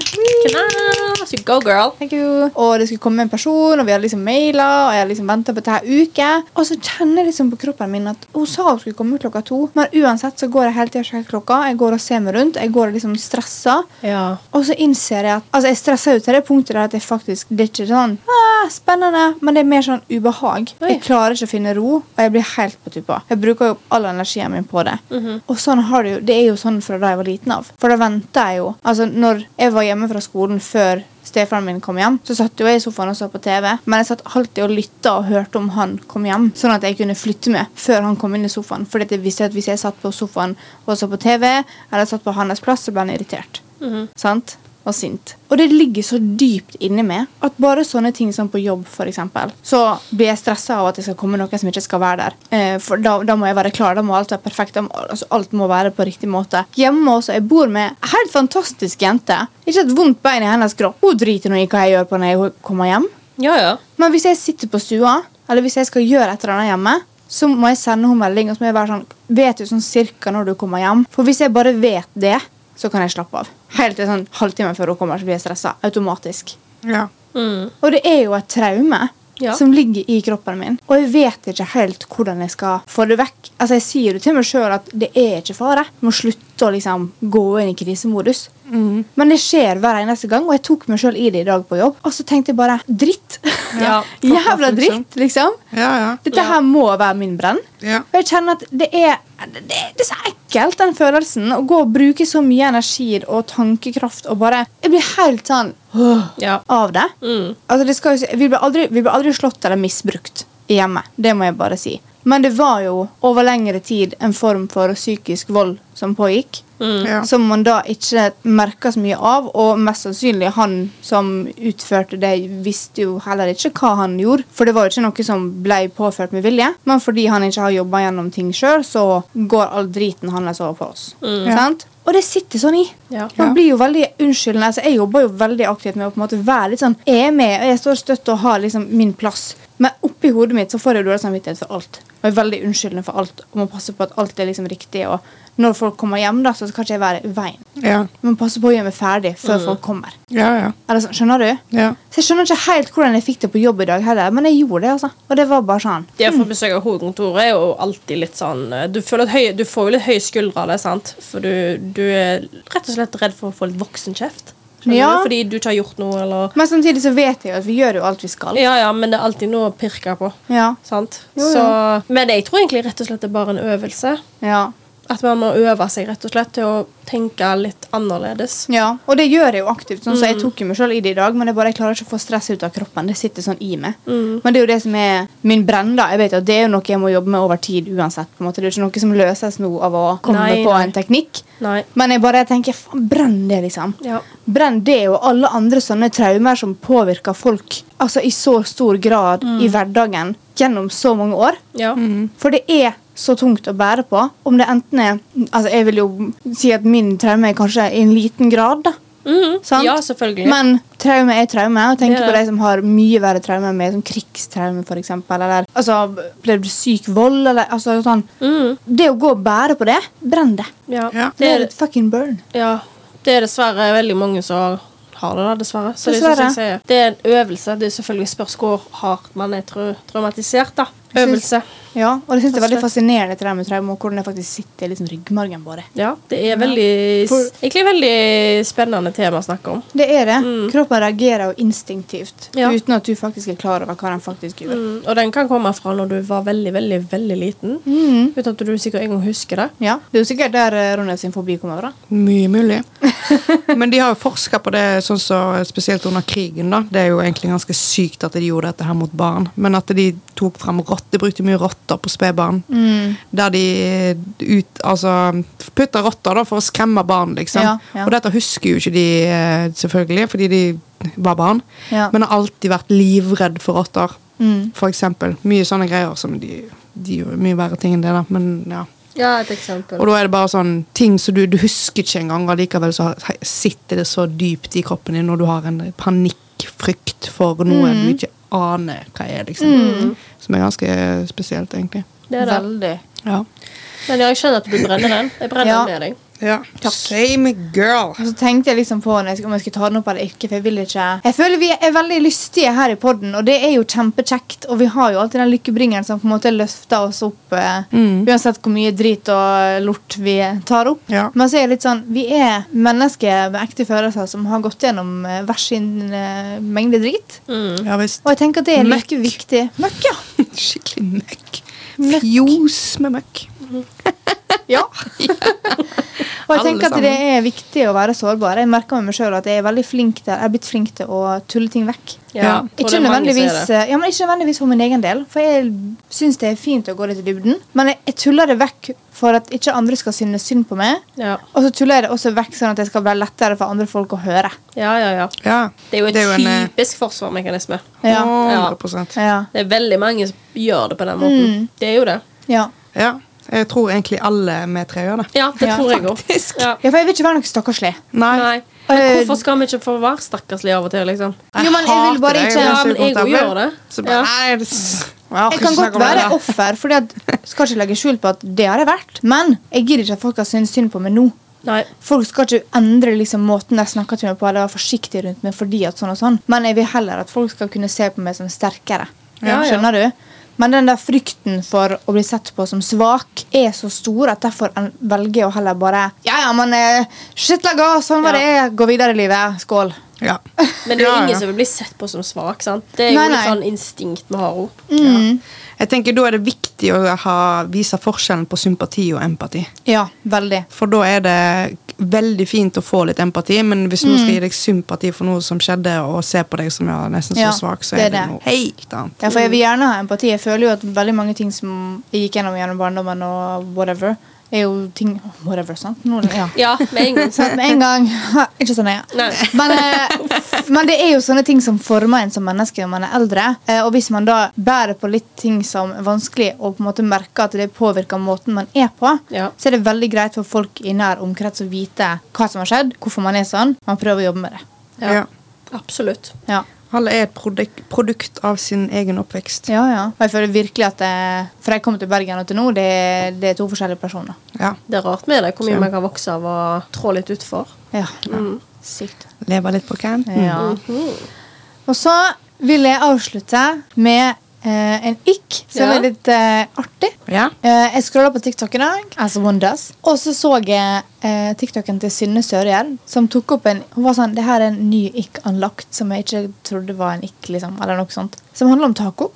[SPEAKER 2] Knas, you Go, girl.
[SPEAKER 3] Thank you. Og det skulle komme en person, og vi hadde liksom maila, og jeg hadde liksom venta på dette her uke. Og så kjenner jeg liksom på kroppen min at hun sa hun skulle komme klokka to, men uansett så går jeg hele tida og sjekker klokka, jeg går og ser meg rundt, jeg går liksom stressa.
[SPEAKER 2] Ja.
[SPEAKER 3] Og så innser jeg at altså jeg stresser ut til det punktet der at jeg faktisk, det er ikke sånn ah, spennende, men det er mer sånn ubehag.
[SPEAKER 2] Oi.
[SPEAKER 3] Jeg klarer ikke å finne ro, og jeg blir helt på tuppa. Jeg bruker jo opp all energien min på det. Og sånn har det jo, det er jo sånn fra da jeg var liten av. For da venta jeg jo. Altså, når jeg var hjemme fra skolen før stefaren min kom hjem, så satt jo jeg i sofaen og så på TV, men jeg satt alltid og lytta og hørte om han kom hjem, sånn at jeg kunne flytte meg før han kom inn i sofaen. Fordi at jeg visste at hvis jeg satt på sofaen og så på TV, eller satt på hans plass, så ble han irritert sant? Og sint. Og det ligger så dypt inni meg at bare sånne ting som på jobb, for eksempel, så blir jeg stressa av at det skal komme noen som ikke skal være der. Eh, for da, da må jeg være klar, da må alt være perfekt, da må, altså, alt må være på riktig måte. Hjemme også, jeg bor med en helt fantastisk jente. Ikke et vondt bein i hennes kropp. Hun driter nå i hva jeg gjør på når jeg kommer hjem.
[SPEAKER 2] Ja, ja.
[SPEAKER 3] Men hvis jeg sitter på stua, eller hvis jeg skal gjøre et eller annet hjemme, så må jeg sende henne melding og så må jeg være sånn Vet du sånn cirka når du kommer hjem? For hvis jeg bare vet det, så kan jeg slappe av. Helt til sånn halvtime før hun kommer, så blir jeg stressa. Automatisk.
[SPEAKER 1] Ja.
[SPEAKER 2] Mm.
[SPEAKER 3] Og det er jo et traume.
[SPEAKER 2] Ja.
[SPEAKER 3] Som ligger i kroppen min. Og jeg vet ikke helt hvordan jeg skal få det vekk. Altså Jeg sier jo til meg sjøl at det er ikke fare. Jeg må slutte å liksom gå inn i krisemodus. Men det skjer hver eneste gang, og jeg tok meg sjøl i det i dag på jobb. Og så tenkte jeg bare dritt.
[SPEAKER 2] Ja.
[SPEAKER 3] Jævla dritt, liksom.
[SPEAKER 1] Ja, ja.
[SPEAKER 3] Dette her må være min brenn.
[SPEAKER 1] ja.
[SPEAKER 3] Og jeg kjenner at det er, det, det er så ekkelt, den følelsen. Å gå og bruke så mye energi og tankekraft og bare Jeg blir helt sånn åh,
[SPEAKER 2] Ja.
[SPEAKER 3] av det.
[SPEAKER 2] Mm.
[SPEAKER 3] Altså, det skal jo, si- vi, ble aldri, vi ble aldri slått eller misbrukt i hjemmet. Det må jeg bare si. Men det var jo over lengre tid en form for psykisk vold som pågikk.
[SPEAKER 1] ja.
[SPEAKER 3] Som man da ikke merka så mye av, og mest sannsynlig han som utførte det, visste jo heller ikke hva han gjorde. For det var jo ikke noe som ble påført med vilje, men fordi han ikke har jobba gjennom ting sjøl, så går all driten hans over på oss. Sant? Og det sitter sånn i.
[SPEAKER 2] Ja.
[SPEAKER 3] Man
[SPEAKER 1] Ja.
[SPEAKER 3] blir jo veldig unnskyldende. Altså, jeg jobber jo veldig aktivt med å på en måte være litt sånn Jeg er med, og jeg står støtt og har liksom min plass. Men oppi hodet mitt så får jeg jo dårlig samvittighet for alt. Og er veldig unnskyldende for alt. Og må passe på at alt er liksom riktig. Og når folk kommer hjem, da, så skal ikke jeg være i veien.
[SPEAKER 1] Ja.
[SPEAKER 3] Man passer på å gjøre meg ferdig før folk kommer.
[SPEAKER 1] Ja, ja.
[SPEAKER 3] Eller sånn, skjønner du?
[SPEAKER 1] ja.
[SPEAKER 3] Så jeg skjønner ikke helt hvordan jeg fikk det på jobb i dag heller, men jeg gjorde det, altså. Og det var bare sånn.
[SPEAKER 2] Det å få besøk av hovedkontoret er jo alltid litt sånn eh, Du, føler at høy, du får jo litt høye skuldre av det, sant? For du, du er rett og slett redd for å få litt voksenkjeft. Skjønner
[SPEAKER 3] Ja.
[SPEAKER 2] du? Fordi du ikke har gjort noe, eller
[SPEAKER 3] Men samtidig så vet jeg jo at vi gjør jo alt vi skal.
[SPEAKER 2] Ja, ja, men det er alltid noe å pirke på.
[SPEAKER 3] Ja.
[SPEAKER 2] Sant?
[SPEAKER 3] Jo, jo.
[SPEAKER 2] Så, men jeg tror egentlig rett og slett det er bare en øvelse.
[SPEAKER 3] Ja.
[SPEAKER 2] At man må øve seg rett og slett til å tenke litt annerledes.
[SPEAKER 3] ja. Og det gjør jeg jo aktivt, sånn,
[SPEAKER 2] Mm.
[SPEAKER 3] så jeg tok jo meg sjøl i det i dag, men jeg bare jeg klarer ikke å få stress ut av kroppen. Det sitter sånn i meg.
[SPEAKER 2] Mm.
[SPEAKER 3] Men det er jo det som er min brenn, da. Jeg vet jo at det er jo noe jeg må jobbe med over tid uansett. på en måte. Det er jo ikke noe som løses nå av å komme
[SPEAKER 2] Nei,
[SPEAKER 3] på
[SPEAKER 2] nei.
[SPEAKER 3] en teknikk.
[SPEAKER 2] Nei.
[SPEAKER 3] Men jeg bare tenker, faen, brenn det, liksom.
[SPEAKER 2] Ja.
[SPEAKER 3] Brenn det og alle andre sånne traumer som påvirker folk altså i så stor grad i
[SPEAKER 2] Mm.
[SPEAKER 3] hverdagen gjennom så mange år.
[SPEAKER 2] Ja.
[SPEAKER 3] For det er så tungt å bære på. Om det enten er altså Jeg vil jo si at min traume er kanskje i en liten grad, da.
[SPEAKER 2] Mhm.
[SPEAKER 3] Sant?
[SPEAKER 2] ja selvfølgelig.
[SPEAKER 3] Men traume er traume. Og tenk
[SPEAKER 2] Det er
[SPEAKER 3] på
[SPEAKER 2] det.
[SPEAKER 3] de som har mye verre traumer, med som krigstraume, f.eks. Eller altså, opplevd syk vold, eller altså sånn.
[SPEAKER 2] Mhm.
[SPEAKER 3] Det å gå og bære på det, brenn det.
[SPEAKER 2] ja.
[SPEAKER 1] Ja.
[SPEAKER 2] Det,
[SPEAKER 3] Let
[SPEAKER 2] er,
[SPEAKER 3] it fucking burn.
[SPEAKER 2] ja. det er dessverre veldig mange som har det, da, dessverre. Så Det, er, sånn som jeg sier. det er en øvelse. Det er selvfølgelig spørs hvor hardt man er trau traumatisert. da.
[SPEAKER 3] Jeg synes-
[SPEAKER 2] Øvelse.
[SPEAKER 3] Ja, og det synes jeg er veldig
[SPEAKER 2] Absolutt.
[SPEAKER 3] fascinerende det der med traume, og hvordan det faktisk sitter i liksom, ryggmargen på det.
[SPEAKER 2] Ja, det er veldig,
[SPEAKER 3] For-
[SPEAKER 2] egentlig veldig spennende tema å snakke om.
[SPEAKER 3] Det er det. Kroppen reagerer jo instinktivt,
[SPEAKER 2] Mm. Ja.
[SPEAKER 3] uten at du faktisk er klar over hva den faktisk gjør.
[SPEAKER 2] Mm, og den kan komme fra når du var veldig, veldig veldig liten. Uten at du sikkert engang husker det.
[SPEAKER 3] Ja, Det er jo sikkert der eh, Ronja sin fobi kommer fra.
[SPEAKER 1] Mye mulig. Men de har jo forska på det sånn så, spesielt under krigen. da. Det er jo egentlig ganske sykt at de gjorde dette her mot barn. Men at de tok fram rått, de brukte mye rotter på spedbarn.
[SPEAKER 3] Mm.
[SPEAKER 2] Mm.
[SPEAKER 1] Der de ut, altså, putta rotter da, for å skremme barn, liksom.
[SPEAKER 3] Ja, ja.
[SPEAKER 1] Og dette husker jo ikke de, eh, selvfølgelig, fordi de var barn.
[SPEAKER 3] Ja.
[SPEAKER 1] Men har alltid vært livredd for rotter.
[SPEAKER 3] Mm.
[SPEAKER 1] For eksempel. Mye sånne greier som de, de gjorde mye verre ting enn det, da. Men ja.
[SPEAKER 2] Ja, et eksempel.
[SPEAKER 1] Og da er det bare sånn ting som du, du husker ikke engang, og likevel så har- sitter det så dypt i kroppen din når du har en panikkfrykt for noe
[SPEAKER 3] Mm.
[SPEAKER 1] du ikke aner hva er, liksom. Som er ganske spesielt, egentlig.
[SPEAKER 2] Det er det.
[SPEAKER 3] Veldig.
[SPEAKER 1] Ja.
[SPEAKER 2] Men ja, jeg skjønner at du brenner den. Jeg brenner
[SPEAKER 3] Ja.
[SPEAKER 2] den med deg.
[SPEAKER 1] Takk. Same girl.
[SPEAKER 3] Og så tenkte jeg liksom på når jeg skulle- om jeg skulle ta den opp eller ikke. for Jeg vil ikke. Jeg føler vi er veldig lystige her i podden, og det er jo kjempekjekt. Og vi har jo alltid den lykkebringeren som på en måte løfter oss opp, eh,
[SPEAKER 1] Mm.
[SPEAKER 3] uansett hvor mye drit og lort vi tar opp.
[SPEAKER 1] Ja.
[SPEAKER 3] Men så er jeg litt sånn, vi er mennesker med ekte følelser som har gått gjennom eh, hver sin eh, mengde drit.
[SPEAKER 2] Mm.
[SPEAKER 1] Ja visst.
[SPEAKER 3] Og jeg tenker at det er
[SPEAKER 1] Møkk.
[SPEAKER 3] like viktig. Møkk, ja.
[SPEAKER 1] Skikkelig møkk.
[SPEAKER 3] Møkk.
[SPEAKER 1] Fjos med møkk.
[SPEAKER 3] Ja. og jeg
[SPEAKER 1] Alle
[SPEAKER 3] tenker at
[SPEAKER 1] sammen.
[SPEAKER 3] det er viktig å være sårbar. Jeg merker med meg selv at jeg er veldig flink til, jeg er blitt flink til å tulle ting vekk.
[SPEAKER 1] Ja.
[SPEAKER 2] Ja, jeg tror det
[SPEAKER 3] Ikke
[SPEAKER 2] er mange som er
[SPEAKER 3] nødvendigvis,
[SPEAKER 2] det.
[SPEAKER 3] ja, men ikke nødvendigvis for min egen del, for jeg syns det er fint å gå litt i dybden. Men jeg, jeg tuller det vekk for at ikke andre skal synes synd på meg.
[SPEAKER 2] Ja.
[SPEAKER 3] Og så tuller jeg det også vekk sånn at det skal bli lettere for andre folk å høre.
[SPEAKER 2] ja, ja, ja.
[SPEAKER 1] Ja.
[SPEAKER 2] Det er jo en
[SPEAKER 1] Det er jo en, eh,
[SPEAKER 2] typisk forsvarsmekanisme.
[SPEAKER 3] Ja.
[SPEAKER 1] 100
[SPEAKER 3] Ja.
[SPEAKER 2] Det er veldig mange som gjør det på den måten. Det er jo det.
[SPEAKER 3] ja.
[SPEAKER 1] Ja. Jeg tror egentlig alle vi tre gjør det.
[SPEAKER 2] Ja, det
[SPEAKER 3] Ja,
[SPEAKER 2] tror jeg òg. Ja.
[SPEAKER 3] Ja, for jeg vil ikke være noe stakkarslig.
[SPEAKER 1] Nei.
[SPEAKER 2] Nei. Men
[SPEAKER 3] Eh,
[SPEAKER 2] hvorfor skal vi ikke få være stakkarslige av og til, liksom?
[SPEAKER 1] Jeg
[SPEAKER 3] Jo, men jeg vil
[SPEAKER 1] hater
[SPEAKER 3] bare
[SPEAKER 1] det.
[SPEAKER 3] ikke-
[SPEAKER 1] blir
[SPEAKER 2] Ja,
[SPEAKER 1] så
[SPEAKER 2] men jeg
[SPEAKER 1] ukomfortabel.
[SPEAKER 2] òg gjør det.
[SPEAKER 1] Så bare,
[SPEAKER 2] Ja.
[SPEAKER 1] nei, det s- jeg
[SPEAKER 2] Ah,
[SPEAKER 1] orker
[SPEAKER 3] Jeg
[SPEAKER 1] ikke
[SPEAKER 3] kan
[SPEAKER 1] snakke
[SPEAKER 3] godt
[SPEAKER 1] om det
[SPEAKER 3] være
[SPEAKER 1] der.
[SPEAKER 3] offer, for jeg skal ikke legge skjul på at det har jeg vært. Men jeg gidder ikke at folk skal synes synd på meg nå.
[SPEAKER 2] Nei.
[SPEAKER 3] Folk skal ikke endre liksom, måten de snakker til meg på, eller være forsiktige rundt meg fordi at sånn og sånn. Men jeg vil heller at folk skal kunne se på meg som sterkere.
[SPEAKER 2] Ja, ja.
[SPEAKER 3] Skjønner du? Men den der frykten for å bli sett på som svak er så stor at derfor en- velger jeg å heller bare Ja, ja, men eh, shit, la gå. Sånn var det. Gå videre i livet. Skål.
[SPEAKER 1] Ja.
[SPEAKER 2] Men det er jo
[SPEAKER 1] Ja, ja.
[SPEAKER 2] ingen som vil bli sett på som svak. sant? Det er jo
[SPEAKER 3] Nei,
[SPEAKER 2] litt
[SPEAKER 3] nei.
[SPEAKER 2] sånn instinkt vi har òg.
[SPEAKER 3] Mm.
[SPEAKER 1] Jeg tenker Da er det viktig å ha, vise forskjellen på sympati og empati.
[SPEAKER 3] Ja, veldig.
[SPEAKER 1] For da er det veldig fint å få litt empati, men
[SPEAKER 3] Mm.
[SPEAKER 1] hvis noen skal gi deg sympati for noe som skjedde, og se på deg som ja, nesten så
[SPEAKER 3] Ja,
[SPEAKER 1] svak, så
[SPEAKER 3] det
[SPEAKER 1] er
[SPEAKER 3] er
[SPEAKER 1] det
[SPEAKER 3] det.
[SPEAKER 1] noe helt annet.
[SPEAKER 3] Ja, for jeg vil gjerne ha empati. Jeg føler jo at veldig mange ting som jeg gikk gjennom gjennom barndommen og whatever, er jo ting Whatever, sant? Nå, ja.
[SPEAKER 2] Ja, med en gang.
[SPEAKER 3] Sant, med en gang. Ha, Ikke sånn, ja.
[SPEAKER 2] Nei.
[SPEAKER 3] Men, eh, men det er jo sånne ting som former en som menneske når man er eldre. Eh, og hvis man da bærer på litt ting som er vanskelig, og på en måte merker at det påvirker måten man er på,
[SPEAKER 2] Ja.
[SPEAKER 3] så er det veldig greit for folk i nær omkrets å vite hva som har skjedd, hvorfor man er sånn. Man prøver å jobbe med det.
[SPEAKER 2] Ja.
[SPEAKER 1] Ja.
[SPEAKER 2] Absolutt.
[SPEAKER 3] Ja.
[SPEAKER 1] Alle er et produk produkt av sin egen oppvekst.
[SPEAKER 3] Ja, ja. Og jeg føler virkelig at eh, Fra jeg kom til Bergen og til nå, det, det er to forskjellige personer.
[SPEAKER 1] Ja.
[SPEAKER 2] Det er rart med det, hvor mye man kan vokse av å trå litt utfor.
[SPEAKER 3] Ja.
[SPEAKER 2] Mm.
[SPEAKER 3] Sykt.
[SPEAKER 1] Leve litt på kanten.
[SPEAKER 3] Ja. Mhm. Og så vil jeg avslutte med eh, en ikk som
[SPEAKER 2] Ja.
[SPEAKER 3] er litt eh, artig.
[SPEAKER 1] Ja.
[SPEAKER 3] Eh, jeg scrolla på TikTok i dag, as one does, og så så jeg eh, TikToken til Synne Sørgjell, som tok opp en Hun var sånn Det her er en ny ikk anlagt, som jeg ikke trodde var en ikk, liksom, eller noe sånt. Som handler om taco.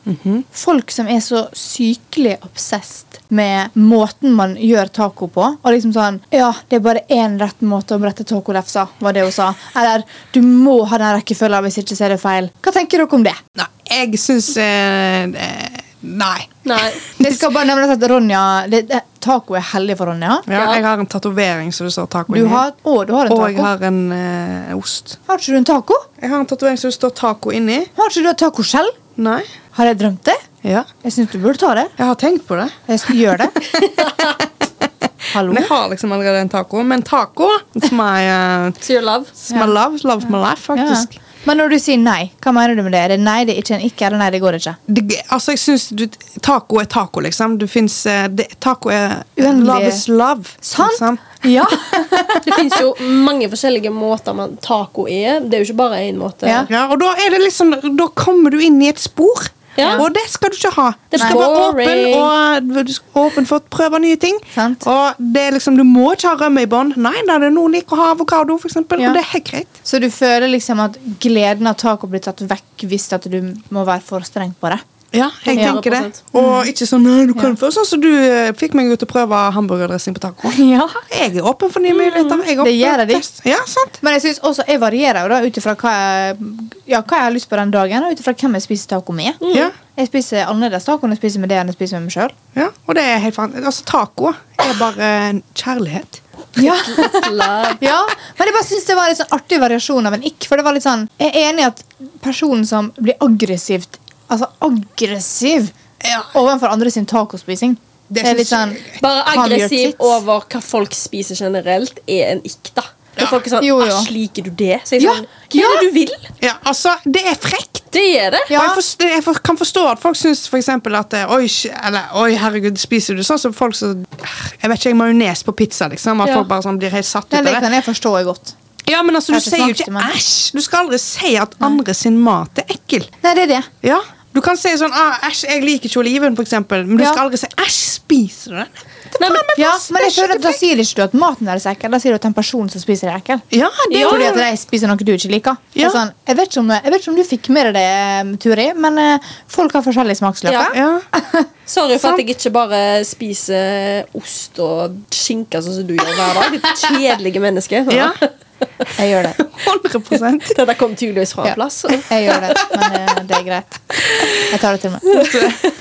[SPEAKER 3] Folk som er så sykelig obsessed med måten man gjør taco på. Og liksom sånn Ja, det er bare én rett måte å brette tacolefsa, var det hun sa. Eller du må ha den rekkefølgen, hvis ikke så er det feil. Hva tenker dere om det?
[SPEAKER 1] Nei, jeg syns eh, eh, Nei.
[SPEAKER 2] Nei.
[SPEAKER 3] Det skal bare nevnes at Ronja det, det, Taco er hellig for Ronja.
[SPEAKER 1] Ja, jeg har en tatovering som det står taco
[SPEAKER 3] Du har, å, du har en
[SPEAKER 1] Og
[SPEAKER 3] taco.
[SPEAKER 1] jeg har en eh, ost.
[SPEAKER 3] Har ikke du en taco?
[SPEAKER 1] Jeg har en tatovering som det står taco inni.
[SPEAKER 3] Har ikke du en taco selv?
[SPEAKER 1] Nei.
[SPEAKER 3] Har jeg drømt det?
[SPEAKER 1] Ja.
[SPEAKER 3] Jeg syns du burde ta det.
[SPEAKER 1] Jeg har tenkt på det.
[SPEAKER 3] Jeg skal gjøre det. Hallo?
[SPEAKER 1] Men jeg har liksom allerede en taco. Men taco it's my, uh,
[SPEAKER 2] So you love.
[SPEAKER 1] it's my love. Love my life, faktisk.
[SPEAKER 3] Ja. Men når du sier nei, hva mener du med det? Er det nei, det er ikke en ikke, eller nei, det går ikke?
[SPEAKER 1] Det, altså, jeg synes du, Taco er taco, liksom. Du finnes, eh, det, taco er
[SPEAKER 3] Uendelig.
[SPEAKER 1] Love is love.
[SPEAKER 3] Sant?
[SPEAKER 1] Liksom.
[SPEAKER 3] Ja.
[SPEAKER 2] Det fins jo mange forskjellige måter man taco er. Det er jo ikke bare én måte.
[SPEAKER 3] Ja.
[SPEAKER 1] Ja, og da, er det liksom, da kommer du inn i et spor,
[SPEAKER 2] Ja.
[SPEAKER 1] og det skal du ikke ha. Du
[SPEAKER 2] Det er
[SPEAKER 1] skal være
[SPEAKER 2] boring.
[SPEAKER 1] åpen, og du skal være åpen for å prøve nye ting.
[SPEAKER 3] Sant.
[SPEAKER 1] Og det er liksom, Du må ikke ha rømme i bånd. Nei, da er det noen liker å ha avokado, f.eks.
[SPEAKER 3] Ja.
[SPEAKER 1] Og det er helt greit.
[SPEAKER 3] Så du føler liksom at gleden av taco blir tatt vekk hvis at du må være for streng på det?
[SPEAKER 1] Ja, jeg tenker det.
[SPEAKER 2] 100%.
[SPEAKER 3] Mm.
[SPEAKER 1] Og ikke sånn nei, du kan få sånn som du eh, fikk meg ut til å prøve hamburgerdressing på taco.
[SPEAKER 3] Ja.
[SPEAKER 1] Jeg er åpen for nye muligheter. Jeg er
[SPEAKER 3] Mm. Det
[SPEAKER 1] åpen for
[SPEAKER 3] gjør jeg.
[SPEAKER 1] test. Ja, sant.
[SPEAKER 3] Men jeg synes også, jeg varierer jo da ut ifra hva, jeg- ja, hva jeg har lyst på den dagen, og ut ifra hvem jeg spiser taco med.
[SPEAKER 1] Ja,
[SPEAKER 3] Jeg spiser annerledes taco når jeg spiser med det enn jeg spiser med meg sjøl.
[SPEAKER 1] ja, og det er helt fan... Altså, taco er bare eh, kjærlighet.
[SPEAKER 3] Ja.
[SPEAKER 2] Love.
[SPEAKER 3] ja, men jeg bare synes det var en sånn artig variasjon av en ikk. For det var litt sånn, Jeg er enig i at personen som blir aggressivt Altså aggressiv
[SPEAKER 1] Ja.
[SPEAKER 3] overfor andre sin tacospising, Det er litt
[SPEAKER 1] synes-
[SPEAKER 3] sånn
[SPEAKER 2] Bare
[SPEAKER 3] Han gjør
[SPEAKER 2] aggressiv
[SPEAKER 3] sitt.
[SPEAKER 2] over hva folk spiser generelt, er en ikta. Når folk er sånn
[SPEAKER 3] Jo, jo.
[SPEAKER 2] Æsj, liker du det? Så jeg er
[SPEAKER 3] Ja,
[SPEAKER 2] sånn, Hva
[SPEAKER 3] ja.
[SPEAKER 2] er det du vil?
[SPEAKER 1] Ja, altså, det er frekt.
[SPEAKER 2] Det er det.
[SPEAKER 3] Ja.
[SPEAKER 1] Og jeg, forstår, jeg for, kan forstå at folk syns for eksempel at eh, Oi, sh- eller, oi herregud, spiser du sånn som folk som Jeg vet ikke, jeg majones på pizza, liksom. At
[SPEAKER 2] Ja.
[SPEAKER 1] folk bare sånn blir helt satt ut
[SPEAKER 3] Ja,
[SPEAKER 1] av
[SPEAKER 3] det
[SPEAKER 1] det.
[SPEAKER 3] kan jeg forstå godt.
[SPEAKER 1] Ja, men altså,
[SPEAKER 3] Jeg
[SPEAKER 1] du sier
[SPEAKER 3] har ikke
[SPEAKER 1] jo
[SPEAKER 3] smakt
[SPEAKER 1] ikke
[SPEAKER 3] det, men-
[SPEAKER 1] æsj. Du skal aldri si at andre sin mat er ekkel.
[SPEAKER 3] Nei, det er det.
[SPEAKER 1] Ja, Du kan si sånn ah, 'æsj, jeg liker ikke oliven', for eksempel, men du
[SPEAKER 3] Ja.
[SPEAKER 1] skal aldri si 'æsj, spiser du den?'
[SPEAKER 2] Nei, men,
[SPEAKER 3] Ja, men jeg
[SPEAKER 1] det er
[SPEAKER 3] føler at Da sier ikke du at maten deres er ekkel, da sier du at den personen som spiser, er ekkel.
[SPEAKER 1] Ja, det
[SPEAKER 2] Ja.
[SPEAKER 1] er
[SPEAKER 3] Fordi
[SPEAKER 1] jo
[SPEAKER 3] at de spiser noe du ikke liker. Det
[SPEAKER 1] Ja.
[SPEAKER 3] er Sånn, jeg, vet ikke om, jeg vet ikke om du fikk med deg det, Turi, men eh, folk har forskjellige smaksløker.
[SPEAKER 1] ja.
[SPEAKER 2] sorry for
[SPEAKER 1] Sant.
[SPEAKER 2] at jeg ikke bare spiser ost og skinke sånn som du gjør hver dag. Ditt kjedelige menneske.
[SPEAKER 1] ja.
[SPEAKER 3] Jeg gjør det.
[SPEAKER 1] 100
[SPEAKER 2] Dette kom tydeligvis fra
[SPEAKER 3] Ja.
[SPEAKER 2] en plass.
[SPEAKER 3] Jeg gjør det, men eh, det er greit. Jeg tar det til meg.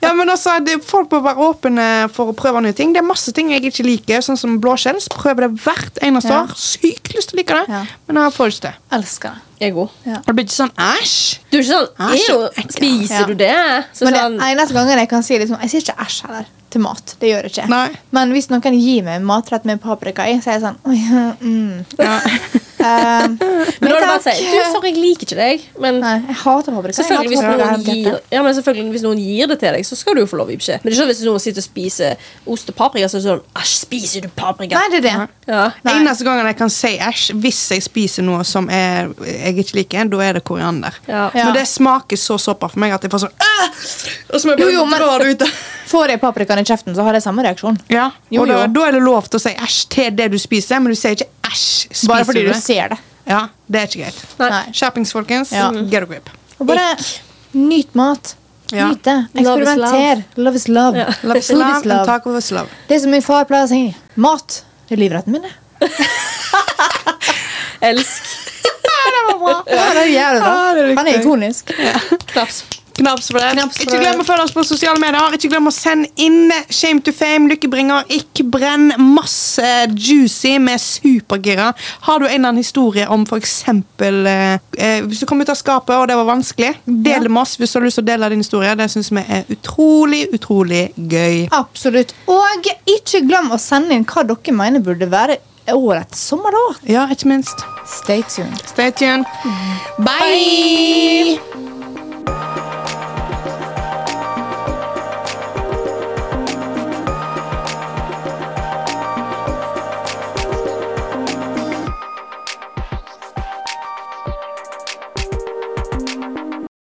[SPEAKER 1] Ja, men altså, det, Folk må være åpne for å prøve nye ting. Det er masse ting jeg ikke liker, sånn som blåskjells. Prøver det hvert eneste
[SPEAKER 3] Ja.
[SPEAKER 1] år. Sykt lyst til å like det,
[SPEAKER 3] Ja.
[SPEAKER 1] men jeg får ikke det.
[SPEAKER 3] Elsker det.
[SPEAKER 2] Jeg er god.
[SPEAKER 1] Og Det blir ikke sånn æsj.
[SPEAKER 2] Du er ikke sånn
[SPEAKER 1] Æsj,
[SPEAKER 2] «Ew,
[SPEAKER 1] ekkel».
[SPEAKER 2] Spiser
[SPEAKER 3] Ah, Ja.
[SPEAKER 2] du det? Så
[SPEAKER 3] Men det
[SPEAKER 2] sånn,
[SPEAKER 3] eneste gangen jeg kan si liksom, Jeg sier ikke æsj heller til mat. Det gjør jeg ikke.
[SPEAKER 1] Nei.
[SPEAKER 3] Men hvis noen gir meg en matrett med paprika i, så er jeg sånn Oi, mm.
[SPEAKER 1] Ja.
[SPEAKER 3] eh,
[SPEAKER 2] men da er det bare å
[SPEAKER 3] takk.
[SPEAKER 2] si Du, sorry, jeg liker ikke deg. Men
[SPEAKER 3] Nei, jeg hater paprika. Jeg
[SPEAKER 2] Selvfølgelig hvis,
[SPEAKER 3] hater paprika
[SPEAKER 2] noen
[SPEAKER 3] helt
[SPEAKER 2] gir,
[SPEAKER 3] hjertet.
[SPEAKER 2] ja, men selvfølgelig hvis noen gir det til deg, så skal du jo få lov å gi beskjed. Men det er ikke sånn, hvis noen sitter og spiser ost og paprika, så er det sånn Æsj, spiser du paprika?
[SPEAKER 3] Nei, det er det.
[SPEAKER 2] Ja.
[SPEAKER 3] Nei.
[SPEAKER 1] Eneste gangen jeg kan si æsj, hvis jeg spiser noe som er, jeg ikke liker, da er det koriander.
[SPEAKER 2] Ja.
[SPEAKER 3] Ja.
[SPEAKER 1] Men det smaker så såpa for meg at jeg får sånn «Åh!» Og så må jeg
[SPEAKER 3] Jo, jo,
[SPEAKER 1] bare
[SPEAKER 3] men-
[SPEAKER 1] dra det ut.
[SPEAKER 3] Får jeg paprikaen i kjeften, så har jeg samme reaksjon.
[SPEAKER 1] Ja.
[SPEAKER 3] Jo,
[SPEAKER 1] og da,
[SPEAKER 3] jo.
[SPEAKER 1] da er det lov til å si æsj til det du spiser, men du sier ikke æsj. spiser
[SPEAKER 3] Bare fordi du
[SPEAKER 1] det?
[SPEAKER 3] ser det.
[SPEAKER 1] Ja, Det er ikke greit.
[SPEAKER 2] Nei.
[SPEAKER 3] Nei.
[SPEAKER 1] Skjerpings, folkens.
[SPEAKER 3] Ja.
[SPEAKER 1] Get a grip.
[SPEAKER 3] Og bare nyt mat.
[SPEAKER 1] Ja.
[SPEAKER 3] Nyt det.
[SPEAKER 2] Love is
[SPEAKER 3] Eksperimenter. Love is love.
[SPEAKER 2] Ja.
[SPEAKER 1] Love is
[SPEAKER 3] Food
[SPEAKER 1] love,
[SPEAKER 3] is love.
[SPEAKER 1] and taco is love.
[SPEAKER 3] Det som min far pleier å si, mat det er livretten min. det.
[SPEAKER 2] Elsk.
[SPEAKER 3] Ja, det er jævlig
[SPEAKER 1] Ja,
[SPEAKER 3] bra.
[SPEAKER 1] det er riktig.
[SPEAKER 3] Han er ikonisk.
[SPEAKER 2] Knaps.
[SPEAKER 1] Knaps for det.
[SPEAKER 3] Knaps for
[SPEAKER 1] ikke
[SPEAKER 3] det.
[SPEAKER 1] glem å følge oss på sosiale medier. Ikke glem å sende inn Shame to fame, lykkebringer, ikke brenn. Masse juicy med supergira. Har du en eller annen historie om f.eks. Eh, eh, hvis du kom ut av skapet og det var vanskelig, del det med oss hvis du har lyst til å dele din historie. Det syns vi er utrolig, utrolig gøy.
[SPEAKER 3] Absolutt. Og ikke glem å sende inn hva dere mener burde være årets sommerlåt.
[SPEAKER 1] Ja, ikke minst.
[SPEAKER 3] Stay tuned.
[SPEAKER 1] Stay tuned. Bye.